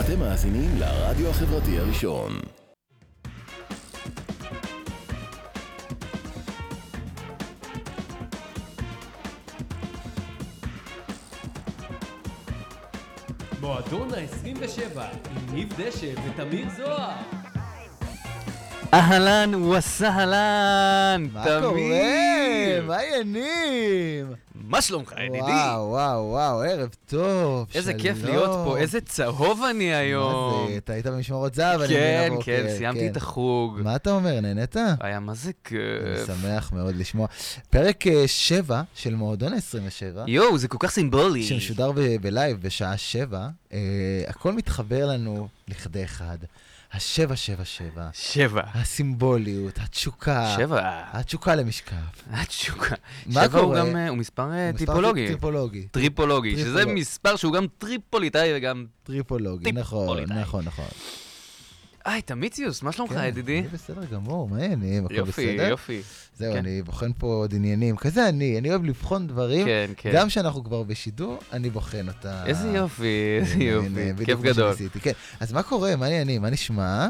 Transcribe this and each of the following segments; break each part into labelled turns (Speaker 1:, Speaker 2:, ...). Speaker 1: אתם מאזינים לרדיו החברתי הראשון.
Speaker 2: מועדון ה-27 עם ניב דשא ותמיר זוהר.
Speaker 3: אהלן וסהלן,
Speaker 4: מה קורה?
Speaker 3: תמיר.
Speaker 4: מה העניינים?
Speaker 3: מה שלומך, ידידי?
Speaker 4: וואו, וואו, וואו, ערב טוב,
Speaker 3: איזה
Speaker 4: שלום.
Speaker 3: כיף להיות פה, איזה צהוב אני
Speaker 4: מה
Speaker 3: היום.
Speaker 4: זה, אתה היית במשמרות זהב, אני
Speaker 3: כן,
Speaker 4: מבין הבוקר,
Speaker 3: כן, סיימתי את החוג. אה,
Speaker 4: מה אתה אומר, נהנית?
Speaker 3: היה מה זה
Speaker 4: אני
Speaker 3: כיף.
Speaker 4: שמח מאוד לשמוע. פרק 7 של מועדון ה-27,
Speaker 3: יואו, זה כל כך סימבולי.
Speaker 4: שמשודר ב- בלייב בשעה 7, הכל מתחבר לנו לכדי אחד. ה-777,
Speaker 3: שבע.
Speaker 4: הסימבוליות, התשוקה,
Speaker 3: שבע.
Speaker 4: התשוקה למשקף.
Speaker 3: התשוקה.
Speaker 4: אה. מה
Speaker 3: שבע הוא
Speaker 4: קורה?
Speaker 3: גם, אה, הוא מספר אה,
Speaker 4: מספר
Speaker 3: טיפולוגי.
Speaker 4: טיפולוגי.
Speaker 3: טריפולוגי, שזה
Speaker 4: טריפולוג.
Speaker 3: מספר שהוא גם טריפוליטאי וגם...
Speaker 4: טריפולוגי,
Speaker 3: טיפ-
Speaker 4: נכון,
Speaker 3: פוליטאי.
Speaker 4: נכון, נכון.
Speaker 3: היי, תמיציוס, מה שלומך,
Speaker 4: כן,
Speaker 3: אוקיי, ידידי?
Speaker 4: אני בסדר גמור, מה העניינים? הכל
Speaker 3: יופי,
Speaker 4: בסדר?
Speaker 3: יופי.
Speaker 4: זהו,
Speaker 3: כן.
Speaker 4: אני בוחן פה עוד עניינים. כזה אני, אני אוהב לבחון דברים.
Speaker 3: כן, כן.
Speaker 4: גם כשאנחנו כבר בשידור, אני בוחן אותה.
Speaker 3: איזה יופי, איזה
Speaker 4: הנה, הנה,
Speaker 3: יופי.
Speaker 4: אה, בדיוק
Speaker 3: כיף
Speaker 4: מה
Speaker 3: גדול.
Speaker 4: שניסיתי, כן. אז מה קורה? מה העניינים? מה נשמע?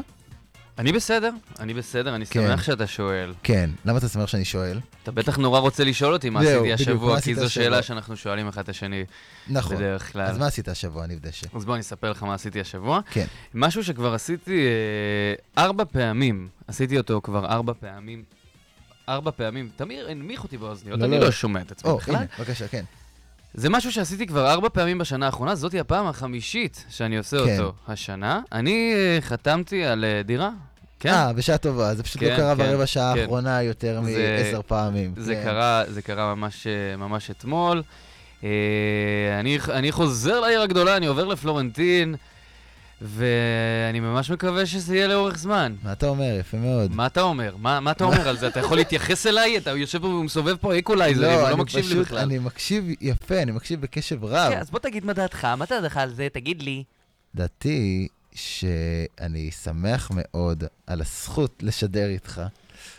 Speaker 3: אני בסדר, אני בסדר, אני
Speaker 4: כן.
Speaker 3: שמח שאתה שואל.
Speaker 4: כן, למה אתה שמח שאני שואל?
Speaker 3: אתה בטח נורא רוצה לשאול אותי מה
Speaker 4: זהו,
Speaker 3: עשיתי
Speaker 4: בדיוק,
Speaker 3: השבוע,
Speaker 4: מה
Speaker 3: כי
Speaker 4: עשית
Speaker 3: זו
Speaker 4: השבוע?
Speaker 3: שאלה שאנחנו שואלים אחד את השני
Speaker 4: נכון.
Speaker 3: בדרך כלל.
Speaker 4: אז מה עשית השבוע, ניב דשא?
Speaker 3: אז בוא אני אספר לך מה עשיתי השבוע.
Speaker 4: כן.
Speaker 3: משהו שכבר עשיתי אה, ארבע פעמים, עשיתי אותו כבר ארבע פעמים. ארבע פעמים, תמיר הנמיך אותי באוזניות,
Speaker 4: לא,
Speaker 3: אני
Speaker 4: לא.
Speaker 3: לא שומע את עצמי
Speaker 4: או,
Speaker 3: בכלל.
Speaker 4: הנה, בבקשה, כן.
Speaker 3: זה משהו שעשיתי כבר ארבע פעמים בשנה האחרונה, זאתי הפעם החמישית שאני עושה
Speaker 4: כן.
Speaker 3: אותו השנה. אני אה, חתמתי על אה, דירה. כן.
Speaker 4: אה, בשעה טובה, זה פשוט לא
Speaker 3: כן,
Speaker 4: קרה
Speaker 3: כן,
Speaker 4: ברבע שעה
Speaker 3: כן.
Speaker 4: האחרונה יותר
Speaker 3: זה-
Speaker 4: מעשר פעמים.
Speaker 3: זה
Speaker 4: כן.
Speaker 3: קרה, זה קרה ממש, אה, ממש אתמול. אה, אני, אני חוזר לעיר הגדולה, אני עובר לפלורנטין, ואני ממש מקווה שזה יהיה לאורך זמן.
Speaker 4: מה אתה אומר? יפה מאוד.
Speaker 3: מה אתה אומר? מה, מה אתה אומר על זה? אתה יכול להתייחס אליי? אתה יושב פה ומסובב פה אקולייזרים, הוא לא
Speaker 4: אני
Speaker 3: מקשיב לי
Speaker 4: פשוט-
Speaker 3: בכלל.
Speaker 4: אני מקשיב יפה, אני מקשיב בקשב רב.
Speaker 3: כן, אז בוא תגיד מה דעתך, מה דעתך על זה? תגיד לי.
Speaker 4: דעתי שאני שמח מאוד על הזכות לשדר איתך.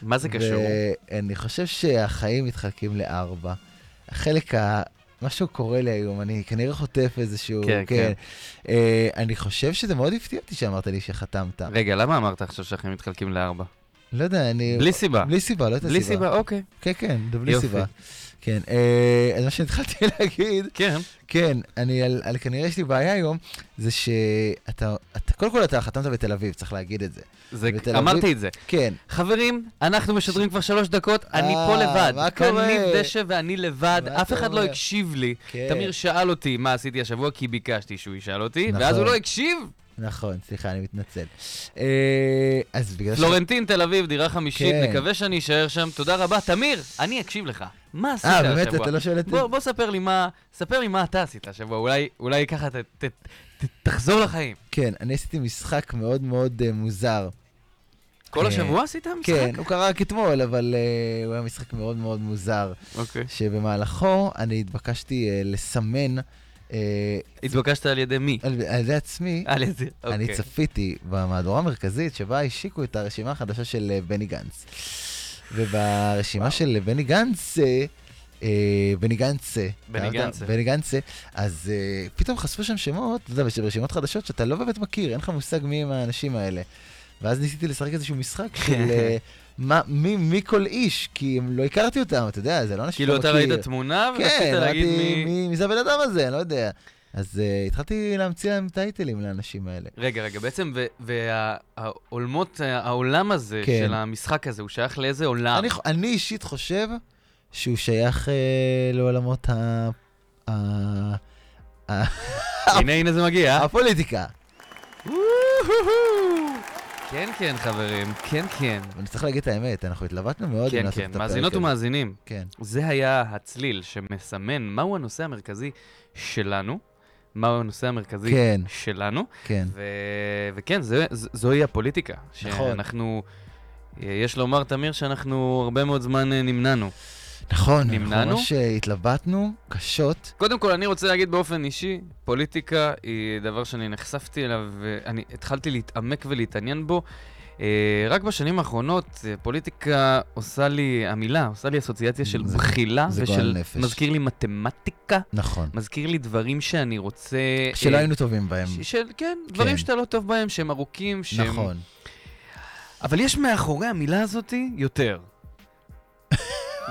Speaker 3: מה זה קשור?
Speaker 4: ואני חושב שהחיים מתחלקים לארבע. החלק ה... משהו קורה לי היום, אני כנראה חוטף איזשהו...
Speaker 3: כן, כן.
Speaker 4: אה, אני חושב שזה מאוד הפתיע אותי שאמרת לי שחתמת.
Speaker 3: רגע, למה אמרת עכשיו שאנחנו מתחלקים לארבע?
Speaker 4: לא יודע, אני...
Speaker 3: בלי סיבה.
Speaker 4: בלי סיבה, לא הייתה סיבה.
Speaker 3: בלי סיבה, אוקיי.
Speaker 4: כן, כן, זה בלי
Speaker 3: יופי.
Speaker 4: סיבה. כן, אה, אז מה שהתחלתי להגיד,
Speaker 3: כן.
Speaker 4: כן, אני על, על כנראה יש לי בעיה היום, זה שאתה, אתה, קודם כל אתה חתמת בתל אביב, צריך להגיד את זה.
Speaker 3: זה-
Speaker 4: בתל אביב-
Speaker 3: אמרתי את זה.
Speaker 4: כן,
Speaker 3: חברים, אנחנו משדרים כבר שלוש דקות, אני פה
Speaker 4: אה,
Speaker 3: לבד.
Speaker 4: מה
Speaker 3: כאן
Speaker 4: קורה?
Speaker 3: ניב דשא ואני לבד,
Speaker 4: מה
Speaker 3: אף אחד לא
Speaker 4: קורה?
Speaker 3: הקשיב לי.
Speaker 4: כן.
Speaker 3: תמיר שאל אותי מה עשיתי השבוע, כי ביקשתי שהוא ישאל אותי,
Speaker 4: נכון.
Speaker 3: ואז הוא לא הקשיב.
Speaker 4: נכון, סליחה, אני מתנצל. אה, אז בגלל ש...
Speaker 3: פלורנטין, תל אביב, דירה חמישית,
Speaker 4: כן.
Speaker 3: נקווה שאני אשאר שם. תודה רבה. תמיר, אני אקשיב לך. מה עשית
Speaker 4: אה,
Speaker 3: השבוע?
Speaker 4: באמת, אתה לא שואל את...
Speaker 3: בוא, בוא ספר לי מה, ספר לי מה אתה עשית השבוע, אולי, אולי ככה ת, ת, ת, תחזור לחיים.
Speaker 4: כן, אני עשיתי משחק מאוד מאוד אה, מוזר.
Speaker 3: כל
Speaker 4: אה,
Speaker 3: השבוע עשית משחק?
Speaker 4: כן, הוא קרה רק אתמול, אבל אה, הוא היה משחק מאוד מאוד מוזר,
Speaker 3: אוקיי.
Speaker 4: שבמהלכו אני התבקשתי אה, לסמן אה,
Speaker 3: התבקשת על ידי מי?
Speaker 4: על על ידי עצמי.
Speaker 3: על ידי, אוקיי.
Speaker 4: אני צפיתי במהדורה המרכזית שבה השיקו את הרשימה החדשה של אה, בני גנץ. וברשימה של אה, בני גנץ, אה, אה, בני גנץ, אה,
Speaker 3: בני
Speaker 4: אתה-
Speaker 3: גנץ.
Speaker 4: בני גנץ, אה, אז אה, פתאום חשפו שם שמות, אתה יודע, יש רשימות חדשות שאתה לא באמת מכיר, אין לך מושג מי הם האנשים האלה. ואז ניסיתי לשחק איזשהו משחק
Speaker 3: כן.
Speaker 4: של אה, מה- מי מי כל איש, כי הם- לא הכרתי אותם, אתה יודע, זה לא אנשים
Speaker 3: כאילו
Speaker 4: שאתה
Speaker 3: אתה
Speaker 4: מכיר.
Speaker 3: ראית תמונה ורצית
Speaker 4: כן,
Speaker 3: להגיד
Speaker 4: אמרתי,
Speaker 3: מי...
Speaker 4: מי... מי זה הבן אדם הזה, אני לא יודע. אז uh, התחלתי להמציא להם טייטלים לאנשים האלה.
Speaker 3: רגע, רגע, בעצם, והעולמות, העולם הזה
Speaker 4: כן.
Speaker 3: של המשחק הזה, הוא שייך לאיזה עולם?
Speaker 4: אני, ח- אני אישית חושב שהוא שייך uh, לעולמות ה... ה... ה...
Speaker 3: הנה, הנה זה מגיע.
Speaker 4: אה, הפוליטיקה.
Speaker 3: כן, כן, חברים, כן, כן.
Speaker 4: אבל אני צריך להגיד את האמת, אנחנו התלבטנו מאוד אם
Speaker 3: כן,
Speaker 4: לא לעשות
Speaker 3: כן,
Speaker 4: את הפרק.
Speaker 3: מאזינות
Speaker 4: הזה.
Speaker 3: ומאזינים.
Speaker 4: כן,
Speaker 3: זה היה הצליל שמסמן מהו הנושא המרכזי שלנו, מהו הנושא המרכזי
Speaker 4: כן.
Speaker 3: שלנו,
Speaker 4: כן.
Speaker 3: ו... וכן, זה, ז- זוהי הפוליטיקה.
Speaker 4: נכון.
Speaker 3: שאנחנו, אה, יש לומר, תמיר, שאנחנו הרבה מאוד זמן אה, נמנענו.
Speaker 4: נכון, אנחנו
Speaker 3: נמנענו?
Speaker 4: ממש אה, התלבטנו קשות.
Speaker 3: קודם כל, אני רוצה להגיד באופן אישי, פוליטיקה היא דבר שאני נחשפתי אליו, ואני התחלתי להתעמק ולהתעניין בו. אה, רק בשנים האחרונות אה, פוליטיקה עושה לי, המילה, עושה לי אסוציאציה של
Speaker 4: זה-
Speaker 3: בחילה
Speaker 4: זה
Speaker 3: ושל,
Speaker 4: גועל נפש.
Speaker 3: מזכיר לי מתמטיקה,
Speaker 4: נכון.
Speaker 3: מזכיר לי דברים שאני רוצה... אה,
Speaker 4: שלא היינו טובים בהם.
Speaker 3: ש- של, כן, דברים
Speaker 4: כן.
Speaker 3: שאתה לא טוב בהם, שהם ארוכים, שהם...
Speaker 4: נכון.
Speaker 3: אבל יש מאחורי המילה הזאתי יותר.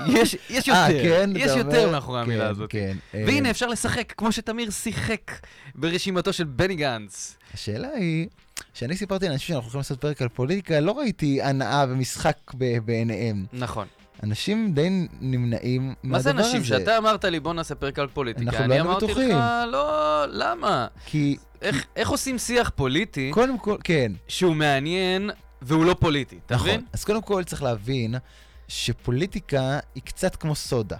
Speaker 3: יש, יש יותר,
Speaker 4: אה, כן?
Speaker 3: יש
Speaker 4: אתה
Speaker 3: יותר
Speaker 4: אומר?
Speaker 3: מאחורי המילה
Speaker 4: כן,
Speaker 3: הזאת.
Speaker 4: כן. אה,
Speaker 3: והנה, אפשר לשחק, כמו שתמיר שיחק ברשימתו של בני גנץ.
Speaker 4: השאלה היא, כשאני סיפרתי לאנשים שאנחנו הולכים לעשות פרק על פוליטיקה, לא ראיתי הנאה ומשחק ב- בעיניהם.
Speaker 3: נכון.
Speaker 4: אנשים די נמנעים מהדבר הזה.
Speaker 3: מה זה אנשים? שאתה אמרת לי, בוא נעשה פרק על פוליטיקה.
Speaker 4: אנחנו לא היינו
Speaker 3: אני אמרתי
Speaker 4: בטוחים.
Speaker 3: לך, לא, למה?
Speaker 4: כי
Speaker 3: איך- איך עושים שיח פוליטי
Speaker 4: קודם כל, כן,
Speaker 3: שהוא מעניין והוא לא פוליטי, אתה
Speaker 4: נכון.
Speaker 3: מבין?
Speaker 4: אז קודם כל צריך להבין שפוליטיקה היא קצת כמו סודה.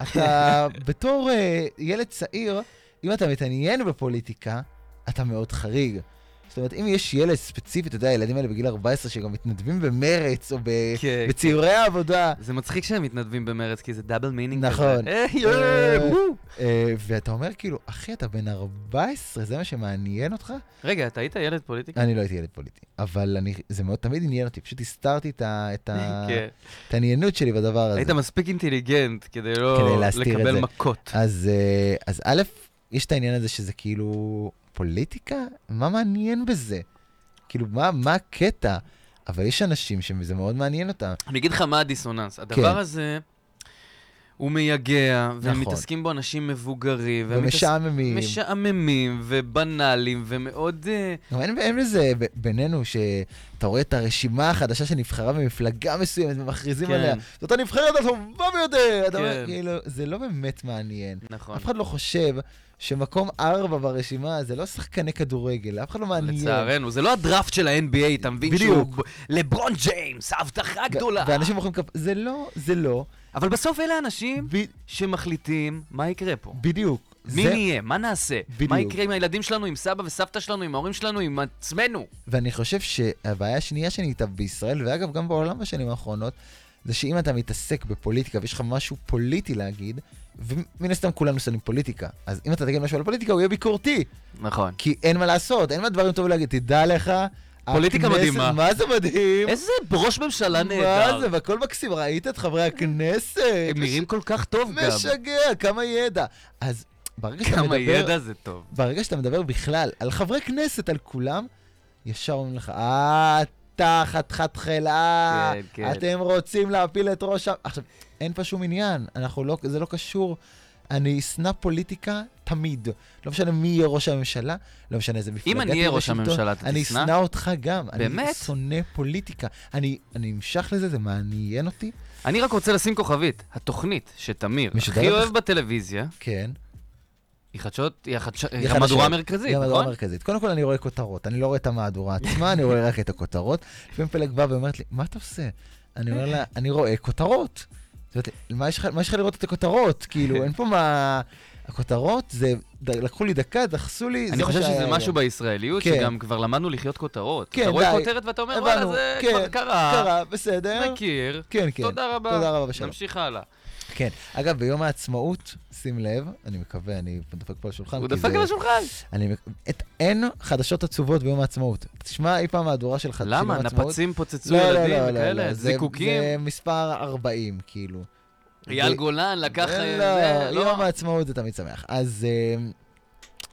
Speaker 4: אתה בתור אה, ילד צעיר, אם אתה מתעניין בפוליטיקה, אתה מאוד חריג. זאת אומרת, אם יש ילד ספציפי, אתה יודע, הילדים האלה בגיל 14 שגם מתנדבים במרץ או ב...
Speaker 3: כן,
Speaker 4: בציורי העבודה,
Speaker 3: זה מצחיק שהם מתנדבים במרץ, כי זה דאבל מינינג
Speaker 4: נכון.
Speaker 3: כזה. אה, יואו,
Speaker 4: אה,
Speaker 3: וואו.
Speaker 4: אה, ואתה אומר כאילו, אחי, אתה בן 14, זה מה שמעניין אותך?
Speaker 3: רגע, אתה היית ילד פוליטיקה?
Speaker 4: אני לא הייתי ילד פוליטי, אבל אני, זה מאוד תמיד עניין אותי, פשוט הסתרתי את ה- את ה-
Speaker 3: כן.
Speaker 4: את העניינות שלי בדבר הזה.
Speaker 3: היית מספיק אינטליגנט כדי לא
Speaker 4: כדי להסתיר את
Speaker 3: לקבל
Speaker 4: זה.
Speaker 3: מכות.
Speaker 4: אז, אה, אז א', יש את העניין הזה שזה כאילו פוליטיקה? מה מעניין בזה? כאילו, מה, מה הקטע? אבל יש אנשים שזה מאוד מעניין אותם.
Speaker 3: אני אגיד לך מה
Speaker 4: כן.
Speaker 3: הדיסוננס. הדבר הזה, הוא מייגע,
Speaker 4: נכון.
Speaker 3: והם מתעסקים בו אנשים מבוגרים, והם מתעסקים-
Speaker 4: ומשעממים. מש...
Speaker 3: משעממים ובנאליים ומאוד... אה,
Speaker 4: אין, אין לזה ב- בינינו שאתה רואה את הרשימה החדשה שנבחרה במפלגה מסוימת ומכריזים
Speaker 3: כן.
Speaker 4: כן. עליה. זאת הנבחרת הטובה ביותר! אתה אומר,
Speaker 3: כן.
Speaker 4: כאילו, זה לא באמת מעניין.
Speaker 3: נכון.
Speaker 4: אף אחד לא חושב שמקום ארבע ברשימה זה לא שחקני כדורגל, אף אחד לא מעניין.
Speaker 3: לצערנו, זה לא הדראפט של ה-NBA, אתה מבין שהוא...
Speaker 4: בדיוק.
Speaker 3: לברון ג'יימס, הבטחה
Speaker 4: ו-
Speaker 3: גדולה.
Speaker 4: ואנשים מוחאים כפ... זה לא, זה לא.
Speaker 3: אבל בסוף אלה האנשים
Speaker 4: ב- שמחליטים
Speaker 3: מה יקרה פה.
Speaker 4: בדיוק.
Speaker 3: מי
Speaker 4: זה-
Speaker 3: נהיה? מה נעשה? מה
Speaker 4: בדיוק.
Speaker 3: יקרה עם הילדים שלנו, עם סבא וסבתא שלנו, עם ההורים שלנו, עם עצמנו?
Speaker 4: ואני חושב שהבעיה השנייה שאני איתה בישראל, ואגב גם בעולם בשנים האחרונות, זה שאם אתה מתעסק בפוליטיקה ויש לך משהו פוליטי להגיד, ומן הסתם כולנו שונאים פוליטיקה, אז אם אתה תגיד משהו על פוליטיקה הוא יהיה ביקורתי,
Speaker 3: נכון.
Speaker 4: כי אין מה לעשות, אין מה דברים טובים להגיד, תדע לך,
Speaker 3: פוליטיקה
Speaker 4: הכנסת-
Speaker 3: מדהימה.
Speaker 4: מה זה מדהים?
Speaker 3: איזה ראש ממשלה
Speaker 4: מה זה,
Speaker 3: נהדר.
Speaker 4: והכל מקסים, ראית את חברי הכנסת?
Speaker 3: הם נראים כל כך טוב גם.
Speaker 4: משגע, כמה ידע. אז ברגע שאתה
Speaker 3: כמה
Speaker 4: מדבר
Speaker 3: ידע זה טוב.
Speaker 4: ברגע שאתה מדבר בכלל על חברי כנסת, על כולם, ישר אומרים לך, אה, אתה חתיכת חלאה,
Speaker 3: כן, כן.
Speaker 4: אתם רוצים להפיל את ראש ה... עכשיו, אין פה שום עניין, אנחנו לא, זה לא קשור. אני אשנא פוליטיקה תמיד. לא משנה מי יהיה ראש הממשלה, לא משנה איזה מפלגה
Speaker 3: אני אהיה
Speaker 4: תהיה
Speaker 3: ראש
Speaker 4: בשלטון,
Speaker 3: הממשלה, אתה
Speaker 4: אני
Speaker 3: תשנא?
Speaker 4: אשנא אותך גם. אני
Speaker 3: באמת?
Speaker 4: שונא פוליטיקה. אני, אני נמשך לזה, זה מעניין אותי.
Speaker 3: אני רק רוצה לשים כוכבית. התוכנית שתמיר
Speaker 4: משודרת
Speaker 3: הכי
Speaker 4: בח-
Speaker 3: אוהב בטלוויזיה,
Speaker 4: כן.
Speaker 3: היא חדשות, היא החדש-
Speaker 4: היא
Speaker 3: היא אה, המהדורה
Speaker 4: חדשות.
Speaker 3: המרכזית,
Speaker 4: היא המהדורה
Speaker 3: נכון?
Speaker 4: המרכזית. קודם כל אני רואה כותרות, אני לא רואה את המהדורה עצמה, אני רואה רק את הכותרות. לפעמים פלג באה ואומרת לי, מה אתה עושה? אני אומר לה, אני רואה כותרות. זאת אומרת, מה יש לך- מה יש לך לראות את הכותרות? כאילו, אין פה מה... הכותרות, זה... ד- לקחו לי דקה, דחסו לי,
Speaker 3: אני
Speaker 4: מה
Speaker 3: חושב
Speaker 4: שהיה
Speaker 3: שזה משהו
Speaker 4: היום.
Speaker 3: בישראליות,
Speaker 4: כן.
Speaker 3: שגם כבר למדנו לחיות כותרות.
Speaker 4: כן,
Speaker 3: אתה רואה
Speaker 4: די.
Speaker 3: כותרת ואתה אומר,
Speaker 4: הבנו,
Speaker 3: וואלה, זה
Speaker 4: כן,
Speaker 3: כבר קרה,
Speaker 4: קרה, בסדר.
Speaker 3: מכיר,
Speaker 4: כן, כן.
Speaker 3: תודה רבה.
Speaker 4: תודה רבה בשלום.
Speaker 3: נמשיך הלאה.
Speaker 4: כן. אגב, ביום העצמאות, שים לב, אני מקווה, אני דופק פה על השולחן.
Speaker 3: הוא
Speaker 4: כי
Speaker 3: דפק
Speaker 4: זה-
Speaker 3: על השולחן.
Speaker 4: אני... מק- את- אין חדשות עצובות ביום העצמאות. תשמע אי פעם מהדורה של חדשות
Speaker 3: למה? נפצים פוצצו
Speaker 4: לא,
Speaker 3: ילדים וכאלה?
Speaker 4: זה-
Speaker 3: זיקוקים?
Speaker 4: זה מספר 40, כאילו.
Speaker 3: אייל
Speaker 4: זה-
Speaker 3: גולן לקח...
Speaker 4: זה
Speaker 3: אה, זה,
Speaker 4: לא, יום העצמאות זה תמיד שמח. אז אה,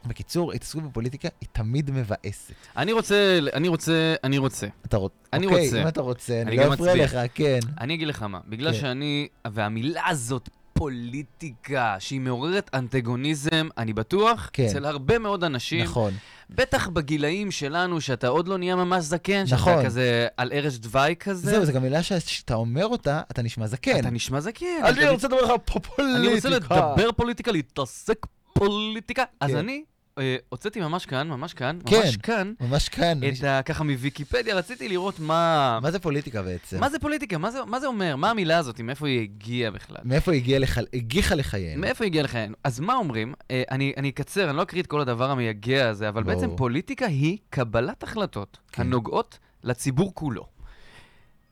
Speaker 4: בקיצור, התעסקות בפוליטיקה היא תמיד מבאסת.
Speaker 3: אני רוצה, אני רוצה, אני רוצה.
Speaker 4: אתה רוצ...
Speaker 3: אני
Speaker 4: אוקיי,
Speaker 3: רוצה.
Speaker 4: אם אתה רוצה,
Speaker 3: אני
Speaker 4: אני לא
Speaker 3: גם
Speaker 4: אפריע לך,
Speaker 3: מצביע.
Speaker 4: כן.
Speaker 3: אני אגיד לך מה, בגלל
Speaker 4: כן.
Speaker 3: שאני, והמילה הזאת, פוליטיקה, שהיא מעוררת אנטגוניזם, אני בטוח,
Speaker 4: כן.
Speaker 3: אצל הרבה מאוד אנשים,
Speaker 4: נכון,
Speaker 3: בטח בגילאים שלנו, שאתה עוד לא נהיה ממש זקן, שאתה
Speaker 4: נכון.
Speaker 3: כזה על ערש דווי כזה,
Speaker 4: זהו, זו גם מילה ש- שאתה אומר אותה, אתה נשמע זקן.
Speaker 3: אתה נשמע זקן. אתה
Speaker 4: אני
Speaker 3: מת-
Speaker 4: רוצה לדבר לך פה פוליטיקה.
Speaker 3: אני רוצה לדבר פוליטיקה, להתעסק פוליטיקה. אז
Speaker 4: כן.
Speaker 3: אני אה, הוצאתי ממש כאן, ממש כאן,
Speaker 4: כן.
Speaker 3: ממש כאן,
Speaker 4: ממש כאן.
Speaker 3: את ה... ככה מוויקיפדיה, רציתי לראות מה...
Speaker 4: מה זה פוליטיקה בעצם?
Speaker 3: מה זה פוליטיקה? מה זה, מה זה אומר? מה המילה הזאת? מאיפה היא הגיעה בכלל?
Speaker 4: מאיפה היא הגיעה לח- הגיחה לחיינו?
Speaker 3: מאיפה היא הגיעה לחיינו? אז מה אומרים? אה, אני, אני אקצר, אני לא אקריא את כל הדבר המייגע הזה, אבל
Speaker 4: ברור.
Speaker 3: בעצם פוליטיקה היא קבלת החלטות
Speaker 4: כן.
Speaker 3: הנוגעות לציבור כולו.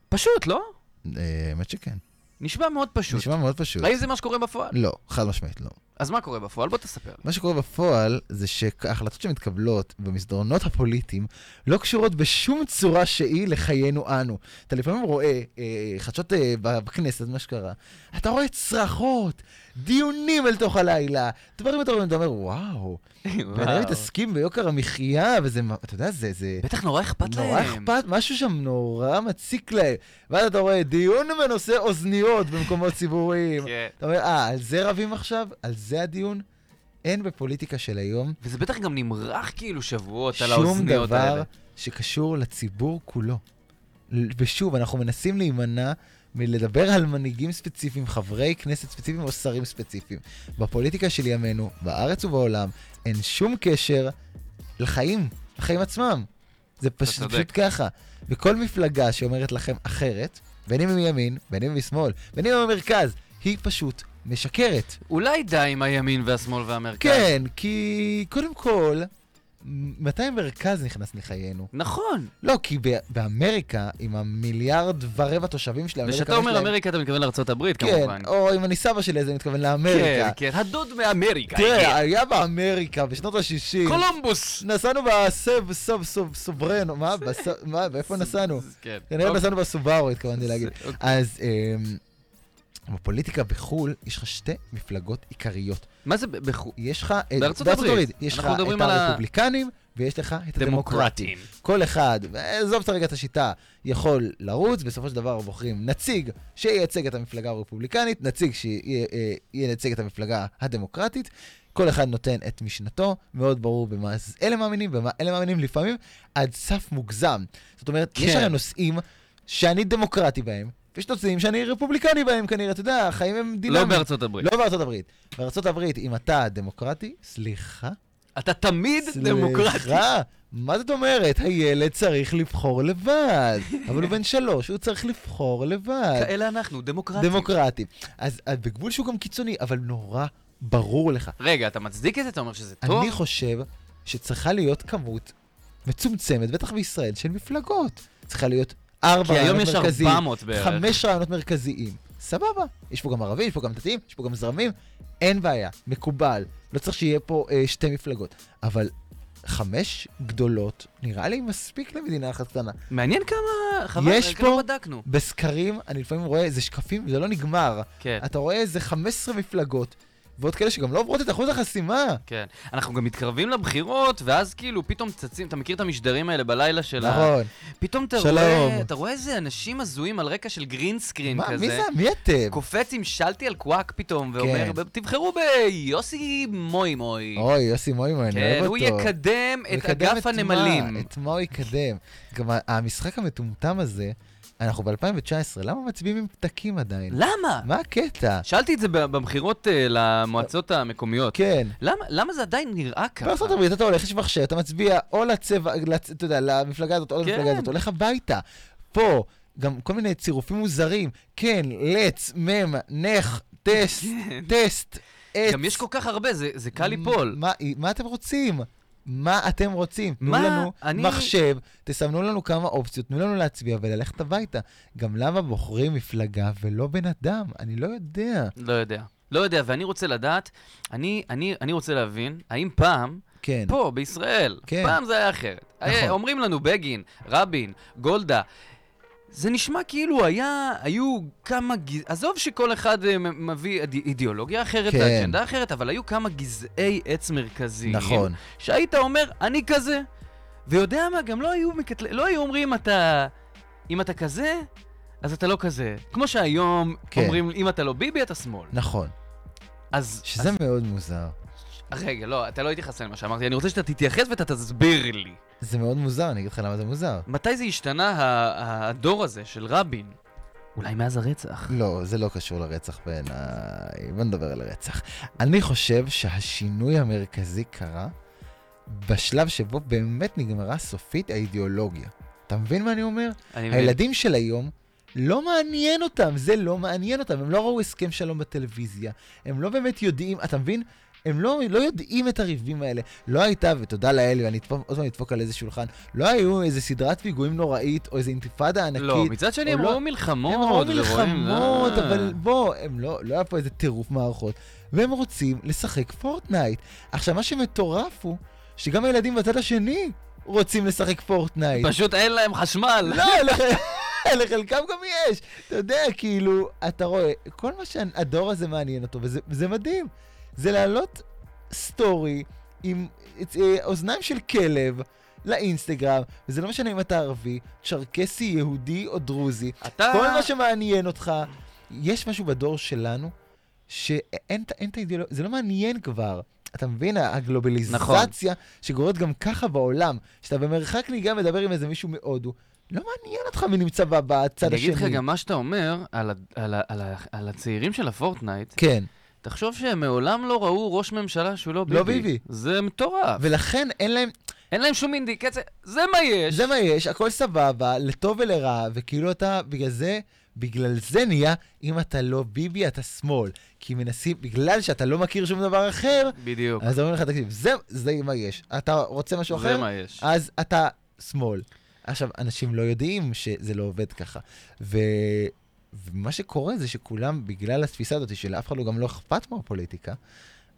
Speaker 3: פשוט, לא?
Speaker 4: אה, האמת שכן.
Speaker 3: נשמע מאוד פשוט.
Speaker 4: נשמע מאוד פשוט.
Speaker 3: האם זה מה שקורה בפועל?
Speaker 4: לא, חד משמעית לא.
Speaker 3: אז מה קורה בפועל? בוא תספר לי.
Speaker 4: מה שקורה בפועל זה שההחלטות שמתקבלות במסדרונות הפוליטיים לא קשורות בשום צורה שהיא לחיינו אנו. אתה לפעמים רואה אה, חדשות אה, ב- בכנסת, מה שקרה, אתה רואה צרחות, דיונים אל תוך הלילה, דברים אתה רואה, אתה אומר, וואו,
Speaker 3: וואו.
Speaker 4: ואנחנו מתעסקים ביוקר המחיה, וזה, מה- אתה יודע, זה... זה...
Speaker 3: בטח נורא אכפת להם.
Speaker 4: נורא אכפת, משהו שם נורא מציק להם. ואז אתה רואה דיון בנושא אוזניות במקומות ציבוריים.
Speaker 3: כן.
Speaker 4: אתה אומר, אה, על זה רבים עכשיו? על זה הדיון? אין בפוליטיקה של היום
Speaker 3: וזה בטח גם נמרח כאילו שבועות על
Speaker 4: שום
Speaker 3: האוזניות
Speaker 4: דבר
Speaker 3: האלה.
Speaker 4: שקשור לציבור כולו. ל- ושוב, אנחנו מנסים להימנע מלדבר על מנהיגים ספציפיים, חברי כנסת ספציפיים או שרים ספציפיים. בפוליטיקה של ימינו, בארץ ובעולם, אין שום קשר לחיים, לחיים עצמם. זה פש... זה
Speaker 3: צודק.
Speaker 4: פשוט ככה. וכל מפלגה שאומרת לכם אחרת, בין אם היא מימין, בין אם היא משמאל, בין אם היא במרכז, היא פשוט משקרת.
Speaker 3: אולי די עם הימין והשמאל והמרכז.
Speaker 4: כן, כי קודם כל, מ- מתי המרכז נכנס לחיינו?
Speaker 3: נכון.
Speaker 4: לא, כי ב- באמריקה, עם המיליארד ורבע תושבים של אמריקה,
Speaker 3: וכשאתה
Speaker 4: יש
Speaker 3: אומר
Speaker 4: להם-
Speaker 3: אמריקה, אתה מתכוון לארה"ב כמובן.
Speaker 4: כן, או אם אני סבא שלי, אז אני מתכוון לאמריקה.
Speaker 3: כן, כן. הדוד מאמריקה. הגיע.
Speaker 4: תראה, היה באמריקה בשנות ה-60,
Speaker 3: קולומבוס.
Speaker 4: נסענו בסב, סב, סוב, סוברנו, מה, בס- מה, באיפה נסענו?
Speaker 3: כן.
Speaker 4: כנראה
Speaker 3: אוקיי.
Speaker 4: נסענו בסובארו, התכוונתי להגיד.
Speaker 3: אוקיי.
Speaker 4: אז אמ, בפוליטיקה בחו"ל, יש לך שתי מפלגות עיקריות.
Speaker 3: מה זה ב- בחו...
Speaker 4: יש לך, את-
Speaker 3: בארצות
Speaker 4: בארצות
Speaker 3: הברית.
Speaker 4: הברית, יש לך
Speaker 3: אנחנו מדברים
Speaker 4: את
Speaker 3: על ה-
Speaker 4: הרפובליקנים ויש לך את הדמוקרטים.
Speaker 3: דמוקרטים.
Speaker 4: כל אחד, עזוב את רגע את השיטה, יכול לרוץ, בסופו של דבר בוחרים נציג שייצג את המפלגה הרפובליקנית, נציג אה, שייצג את המפלגה הדמוקרטית. כל אחד נותן את משנתו, מאוד ברור במה אז אלה מאמינים, במה אלה מאמינים לפעמים עד סף מוגזם. זאת אומרת, כן. יש
Speaker 3: כן.
Speaker 4: הרי נושאים שאני דמוקרטי בהם, ויש נושאים שאני רפובליקני בהם כנראה, אתה יודע, החיים הם
Speaker 3: לא
Speaker 4: דינמיים.
Speaker 3: בארצות הברית.
Speaker 4: לא בארצות הברית. בארצות הברית, אם אתה דמוקרטי, סליחה.
Speaker 3: אתה תמיד דמוקרטי.
Speaker 4: סליחה, מה זאת אומרת? הילד צריך לבחור לבד. אבל הוא בן שלוש, הוא צריך לבחור לבד.
Speaker 3: כאלה אנחנו, דמוקרטים.
Speaker 4: דמוקרטי. אז אז בגבול שהוא גם קיצוני, אבל נורא ברור לך.
Speaker 3: רגע, אתה מצדיק את זה? אתה אומר שזה טוב?
Speaker 4: אני חושב שצריכה להיות כמות מצומצמת, בטח בישראל, של מפלגות. צריכה להיות ארבע
Speaker 3: כי היום
Speaker 4: רעיונות
Speaker 3: יש
Speaker 4: מרכזיים,
Speaker 3: 400 בערך.
Speaker 4: חמש רעיונות מרכזיים. סבבה, יש פה גם ערבים, יש פה גם דתיים, יש פה גם זרמים, אין בעיה, מקובל. לא צריך שיהיה פה אה, שתי מפלגות. אבל חמש גדולות נראה לי מספיק למדינה אחת קטנה.
Speaker 3: מעניין כמה... חבל,
Speaker 4: יש
Speaker 3: כמה
Speaker 4: פה-
Speaker 3: בדקנו.
Speaker 4: בסקרים, אני לפעמים רואה איזה שקפים, זה לא נגמר.
Speaker 3: כן.
Speaker 4: אתה רואה איזה 15 מפלגות, ועוד כאלה שגם לא עוברות את אחוז החסימה.
Speaker 3: כן. אנחנו גם מתקרבים לבחירות, ואז כאילו פתאום צצים, אתה מכיר את המשדרים האלה בלילה של ה...
Speaker 4: נכון.
Speaker 3: פתאום אתה
Speaker 4: שלום.
Speaker 3: רואה, אתה רואה איזה אנשים הזויים על רקע של גרינסקרין
Speaker 4: מה,
Speaker 3: כזה.
Speaker 4: מי זה? מי אתם?
Speaker 3: קופץ עם שלטי על קוואק פתאום, ואומר,
Speaker 4: כן.
Speaker 3: תבחרו ביוסי מוי מוי.
Speaker 4: אוי, יוסי מוימן, אני
Speaker 3: כן,
Speaker 4: אוהב
Speaker 3: הוא
Speaker 4: אותו.
Speaker 3: יקדם
Speaker 4: הוא
Speaker 3: את
Speaker 4: יקדם
Speaker 3: אגף
Speaker 4: מה?
Speaker 3: הנמלים.
Speaker 4: את מה הוא יקדם? גם ה- המשחק המטומטם הזה, אנחנו ב-2019, למה מצביעים עם פתקים עדיין?
Speaker 3: למה?
Speaker 4: מה הקטע?
Speaker 3: שאלתי את זה ב- במכירות אה, למועצות המקומיות.
Speaker 4: כן.
Speaker 3: למה- למה זה עדיין נראה ככה?
Speaker 4: בארצות הברית כן, אתה הולך, יש מחשב, אתה מצביע או לצבע, לצ- אתה יודע, למפלגה הזאת או למפלגה
Speaker 3: כן.
Speaker 4: הזאת, הולך הביתה. פה, גם כל מיני צירופים מוזרים. כן, לץ, מם, נך, טסט, טסט, עץ.
Speaker 3: כן. גם יש כל כך הרבה, זה- זה קל ליפול.
Speaker 4: מה, אה, מה אתם רוצים? מה אתם רוצים? תנו
Speaker 3: מה?
Speaker 4: לנו
Speaker 3: אני-
Speaker 4: מחשב, תסמנו לנו כמה אופציות, תנו לנו להצביע וללכת הביתה. גם למה בוחרים מפלגה ולא בן אדם? אני לא יודע.
Speaker 3: לא יודע. לא יודע, ואני רוצה לדעת, אני, אני, אני רוצה להבין, האם פעם,
Speaker 4: כן.
Speaker 3: פה, בישראל,
Speaker 4: כן.
Speaker 3: פעם זה היה אחרת.
Speaker 4: נכון.
Speaker 3: היה- אומרים לנו בגין, רבין, גולדה, זה נשמע כאילו היה, היו כמה, גז... עזוב שכל אחד אה, מ- מביא איד- אידיאולוגיה אחרת,
Speaker 4: כן.
Speaker 3: ואג'נדה אחרת, אבל היו כמה גזעי עץ מרכזיים.
Speaker 4: נכון.
Speaker 3: שהיית אומר, אני כזה. ויודע מה, גם לא היו, מקטל... לא היו אומרים, אתה... אם אתה כזה, אז אתה לא כזה. כמו שהיום
Speaker 4: כן.
Speaker 3: כן. אומרים, אם אתה לא ביבי, אתה שמאל.
Speaker 4: נכון.
Speaker 3: אז...
Speaker 4: שזה מאוד מוזר.
Speaker 3: אז... רגע, לא, אתה לא התייחס למה שאמרתי, אני רוצה שאתה תתייחס ואתה תסביר לי.
Speaker 4: זה מאוד מוזר, אני אגיד לך למה זה מוזר.
Speaker 3: מתי זה השתנה, ה- הדור הזה של רבין? אולי מאז הרצח.
Speaker 4: לא, זה לא קשור לרצח בעיניי. בוא נדבר על הרצח. אני חושב שהשינוי המרכזי קרה בשלב שבו באמת נגמרה סופית האידיאולוגיה. אתה מבין מה אני אומר?
Speaker 3: אני מבין.
Speaker 4: הילדים של היום, לא מעניין אותם, זה לא מעניין אותם. הם לא ראו הסכם שלום בטלוויזיה, הם לא באמת יודעים, אתה מבין? הם לא, לא יודעים את הריבים האלה. לא הייתה, ותודה לאל, ואני אדפוק- עוד פעם אדפוק על איזה שולחן, לא היו איזה סדרת פיגועים נוראית, או איזה אינתיפאדה ענקית.
Speaker 3: לא, מצד שני
Speaker 4: או
Speaker 3: הם
Speaker 4: לא-
Speaker 3: ראו מלחמות.
Speaker 4: הם ראו
Speaker 3: ורואים-
Speaker 4: מלחמות,
Speaker 3: אה.
Speaker 4: אבל בוא, הם לא, לא היה פה איזה טירוף מערכות. והם רוצים לשחק פורטנייט. עכשיו, מה שמטורף הוא, שגם הילדים בצד השני רוצים לשחק פורטנייט.
Speaker 3: פשוט אין להם חשמל.
Speaker 4: לא, לח- לחלקם גם יש. אתה יודע, כאילו, אתה רואה, כל מה שהדור הזה מעניין אותו, וזה זה מדהים. זה להעלות סטורי עם אה, אוזניים של כלב. לאינסטגרם, וזה לא משנה אם אתה ערבי, צ'רקסי, יהודי או דרוזי,
Speaker 3: אתה...
Speaker 4: כל מה שמעניין אותך, יש משהו בדור שלנו, שאין את- אין את האידיאולוגיה, זה לא מעניין כבר. אתה מבין, הגלובליזציה
Speaker 3: נכון.
Speaker 4: שגורית גם ככה בעולם, שאתה במרחק נהיגה מדבר עם איזה מישהו מהודו, לא מעניין אותך מי נמצא ב- בצד
Speaker 3: אני
Speaker 4: השני.
Speaker 3: אגיד לך גם מה שאתה אומר על ה- על ה- על ה- על הצעירים של הפורטנייט.
Speaker 4: כן,
Speaker 3: תחשוב שהם מעולם לא ראו ראש ממשלה שהוא לא ביבי.
Speaker 4: לא ביבי.
Speaker 3: זה מטורף.
Speaker 4: ולכן אין להם,
Speaker 3: אין להם שום אינדיקציה. זה מה יש.
Speaker 4: זה מה יש, הכל סבבה, לטוב ולרע, וכאילו אתה, בגלל זה, בגלל זה נהיה, אם אתה לא ביבי, אתה שמאל. כי מנסים, בגלל שאתה לא מכיר שום דבר אחר,
Speaker 3: בדיוק.
Speaker 4: אז אומרים לך, תקשיב, זה, זה מה יש. אתה רוצה משהו אחר?
Speaker 3: אוקיי. זה מה יש.
Speaker 4: אז אתה שמאל. עכשיו, אנשים לא יודעים שזה לא עובד ככה. ו... ומה שקורה זה שכולם, בגלל התפיסה הזאת שלאף אחד לא גם לא אכפת מהפוליטיקה,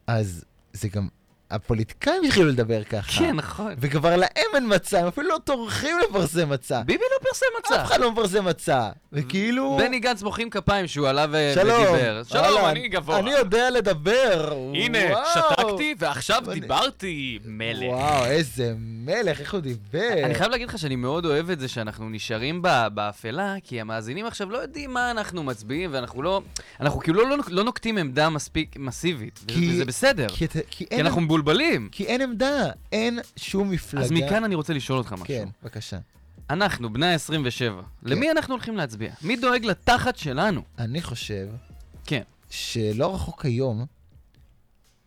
Speaker 4: אז זה גם, הפוליטיקאים התחילו לדבר ככה.
Speaker 3: כן, נכון.
Speaker 4: וכבר להם אין מצע, הם אפילו לא טורחים לפרסם מצע.
Speaker 3: ביבי לא פרסם
Speaker 4: אף
Speaker 3: מצע.
Speaker 4: אחד לא מפרסם מצע. וכאילו...
Speaker 3: בני גנץ מוחאים כפיים שהוא עלה ו-
Speaker 4: שלום.
Speaker 3: ודיבר. שלום,
Speaker 4: אהלן,
Speaker 3: אני גבוה.
Speaker 4: אני יודע לדבר.
Speaker 3: הנה,
Speaker 4: וואו.
Speaker 3: שתקתי ועכשיו
Speaker 4: אני-
Speaker 3: דיברתי, מלך.
Speaker 4: וואו, איזה מלך, איך הוא דיבר.
Speaker 3: אני חייב להגיד לך שאני מאוד אוהב את זה שאנחנו נשארים ב- באפלה, כי המאזינים עכשיו לא יודעים מה אנחנו מצביעים, ואנחנו לא... אנחנו כאילו לא, לא נוקטים עמדה מספיק מסיבית, וזה-
Speaker 4: כי-
Speaker 3: וזה בסדר, כי,
Speaker 4: כי, אתה- כי, אין,
Speaker 3: אנחנו מבולבלים.
Speaker 4: כי אין עמדה, אין שום מפלגה.
Speaker 3: אז מכאן אני רוצה לשאול אותך משהו.
Speaker 4: כן, בבקשה.
Speaker 3: אנחנו, בני ה-27, למי אנחנו הולכים להצביע? מי דואג לתחת שלנו?
Speaker 4: אני חושב
Speaker 3: כן.
Speaker 4: שלא רחוק היום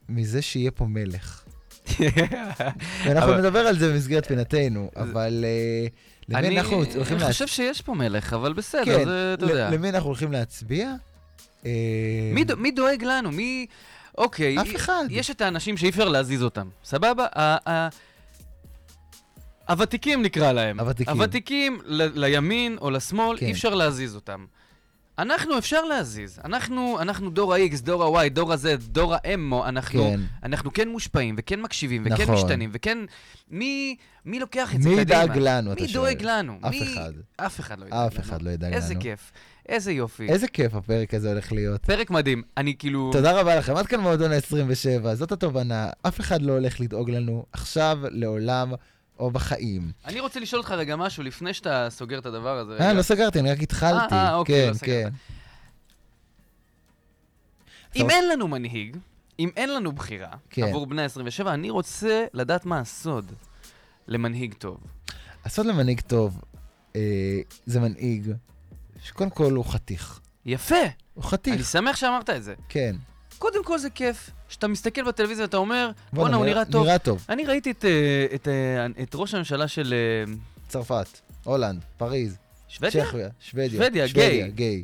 Speaker 4: מזה שיהיה פה מלך. ואנחנו
Speaker 3: אבל-
Speaker 4: נדבר על זה במסגרת פינתנו, אבל אה, למי
Speaker 3: אני
Speaker 4: אנחנו הולכים
Speaker 3: אני
Speaker 4: להצביע?
Speaker 3: חושב שיש פה מלך, אבל בסדר,
Speaker 4: כן,
Speaker 3: זה, אתה
Speaker 4: ל-
Speaker 3: יודע.
Speaker 4: למי אנחנו הולכים להצביע? אה,
Speaker 3: מי, דו- מי דואג לנו? מי... אוקיי.
Speaker 4: אף אחד.
Speaker 3: יש את האנשים שאי אפשר להזיז אותם, סבבה? ה- ה- הוותיקים נקרא להם.
Speaker 4: הוותיקים.
Speaker 3: הוותיקים ל- לימין או לשמאל,
Speaker 4: כן.
Speaker 3: אי אפשר להזיז אותם. אנחנו אפשר להזיז. אנחנו, אנחנו דור ה-X, דור ה-Y, דור ה-Z, דור ה-M, אנחנו,
Speaker 4: כן.
Speaker 3: כן. אנחנו כן מושפעים, וכן מקשיבים, וכן
Speaker 4: נכון.
Speaker 3: משתנים, וכן... מי, מי לוקח את זה
Speaker 4: מי
Speaker 3: קדימה?
Speaker 4: ידאג לנו, אתה
Speaker 3: מי
Speaker 4: שואל?
Speaker 3: דואג לנו?
Speaker 4: אף
Speaker 3: מי...
Speaker 4: אחד.
Speaker 3: אף אחד לא ידאג לנו.
Speaker 4: אף אחד לא ידאג
Speaker 3: איזה
Speaker 4: לנו.
Speaker 3: כיף, איזה יופי.
Speaker 4: איזה כיף הפרק הזה הולך להיות.
Speaker 3: פרק מדהים. אני כאילו...
Speaker 4: תודה רבה לכם, עד כאן מועדון ה-27, זאת התובנה, אף אחד לא הולך לדאוג לנו עכשיו, לעולם או בחיים.
Speaker 3: אני רוצה לשאול אותך רגע משהו לפני שאתה סוגר את הדבר הזה.
Speaker 4: אה,
Speaker 3: רגע.
Speaker 4: לא סגרתי, אני רק התחלתי.
Speaker 3: אה, אה, אוקיי,
Speaker 4: כן,
Speaker 3: לא סגרת.
Speaker 4: כן.
Speaker 3: אם
Speaker 4: אתה-
Speaker 3: אין לנו מנהיג, אם אין לנו בחירה,
Speaker 4: כן.
Speaker 3: עבור בני 27, אני רוצה לדעת מה הסוד למנהיג טוב.
Speaker 4: כן. הסוד למנהיג טוב, אה, זה מנהיג שקודם כל הוא חתיך.
Speaker 3: יפה,
Speaker 4: הוא
Speaker 3: אני
Speaker 4: חתיך,
Speaker 3: שמח שאמרת את זה.
Speaker 4: כן.
Speaker 3: קודם כל זה כיף, שאתה מסתכל בטלוויזיה ואתה אומר,
Speaker 4: בואנה,
Speaker 3: בואנה, הוא נראה טוב.
Speaker 4: נראה טוב.
Speaker 3: אני ראיתי את, אה, את, אה, את ראש הממשלה של אה,
Speaker 4: צרפת, הולנד, פריז,
Speaker 3: שוודיה?
Speaker 4: צ'כיה, שוודיה.
Speaker 3: שוודיה, גיי.
Speaker 4: גיי.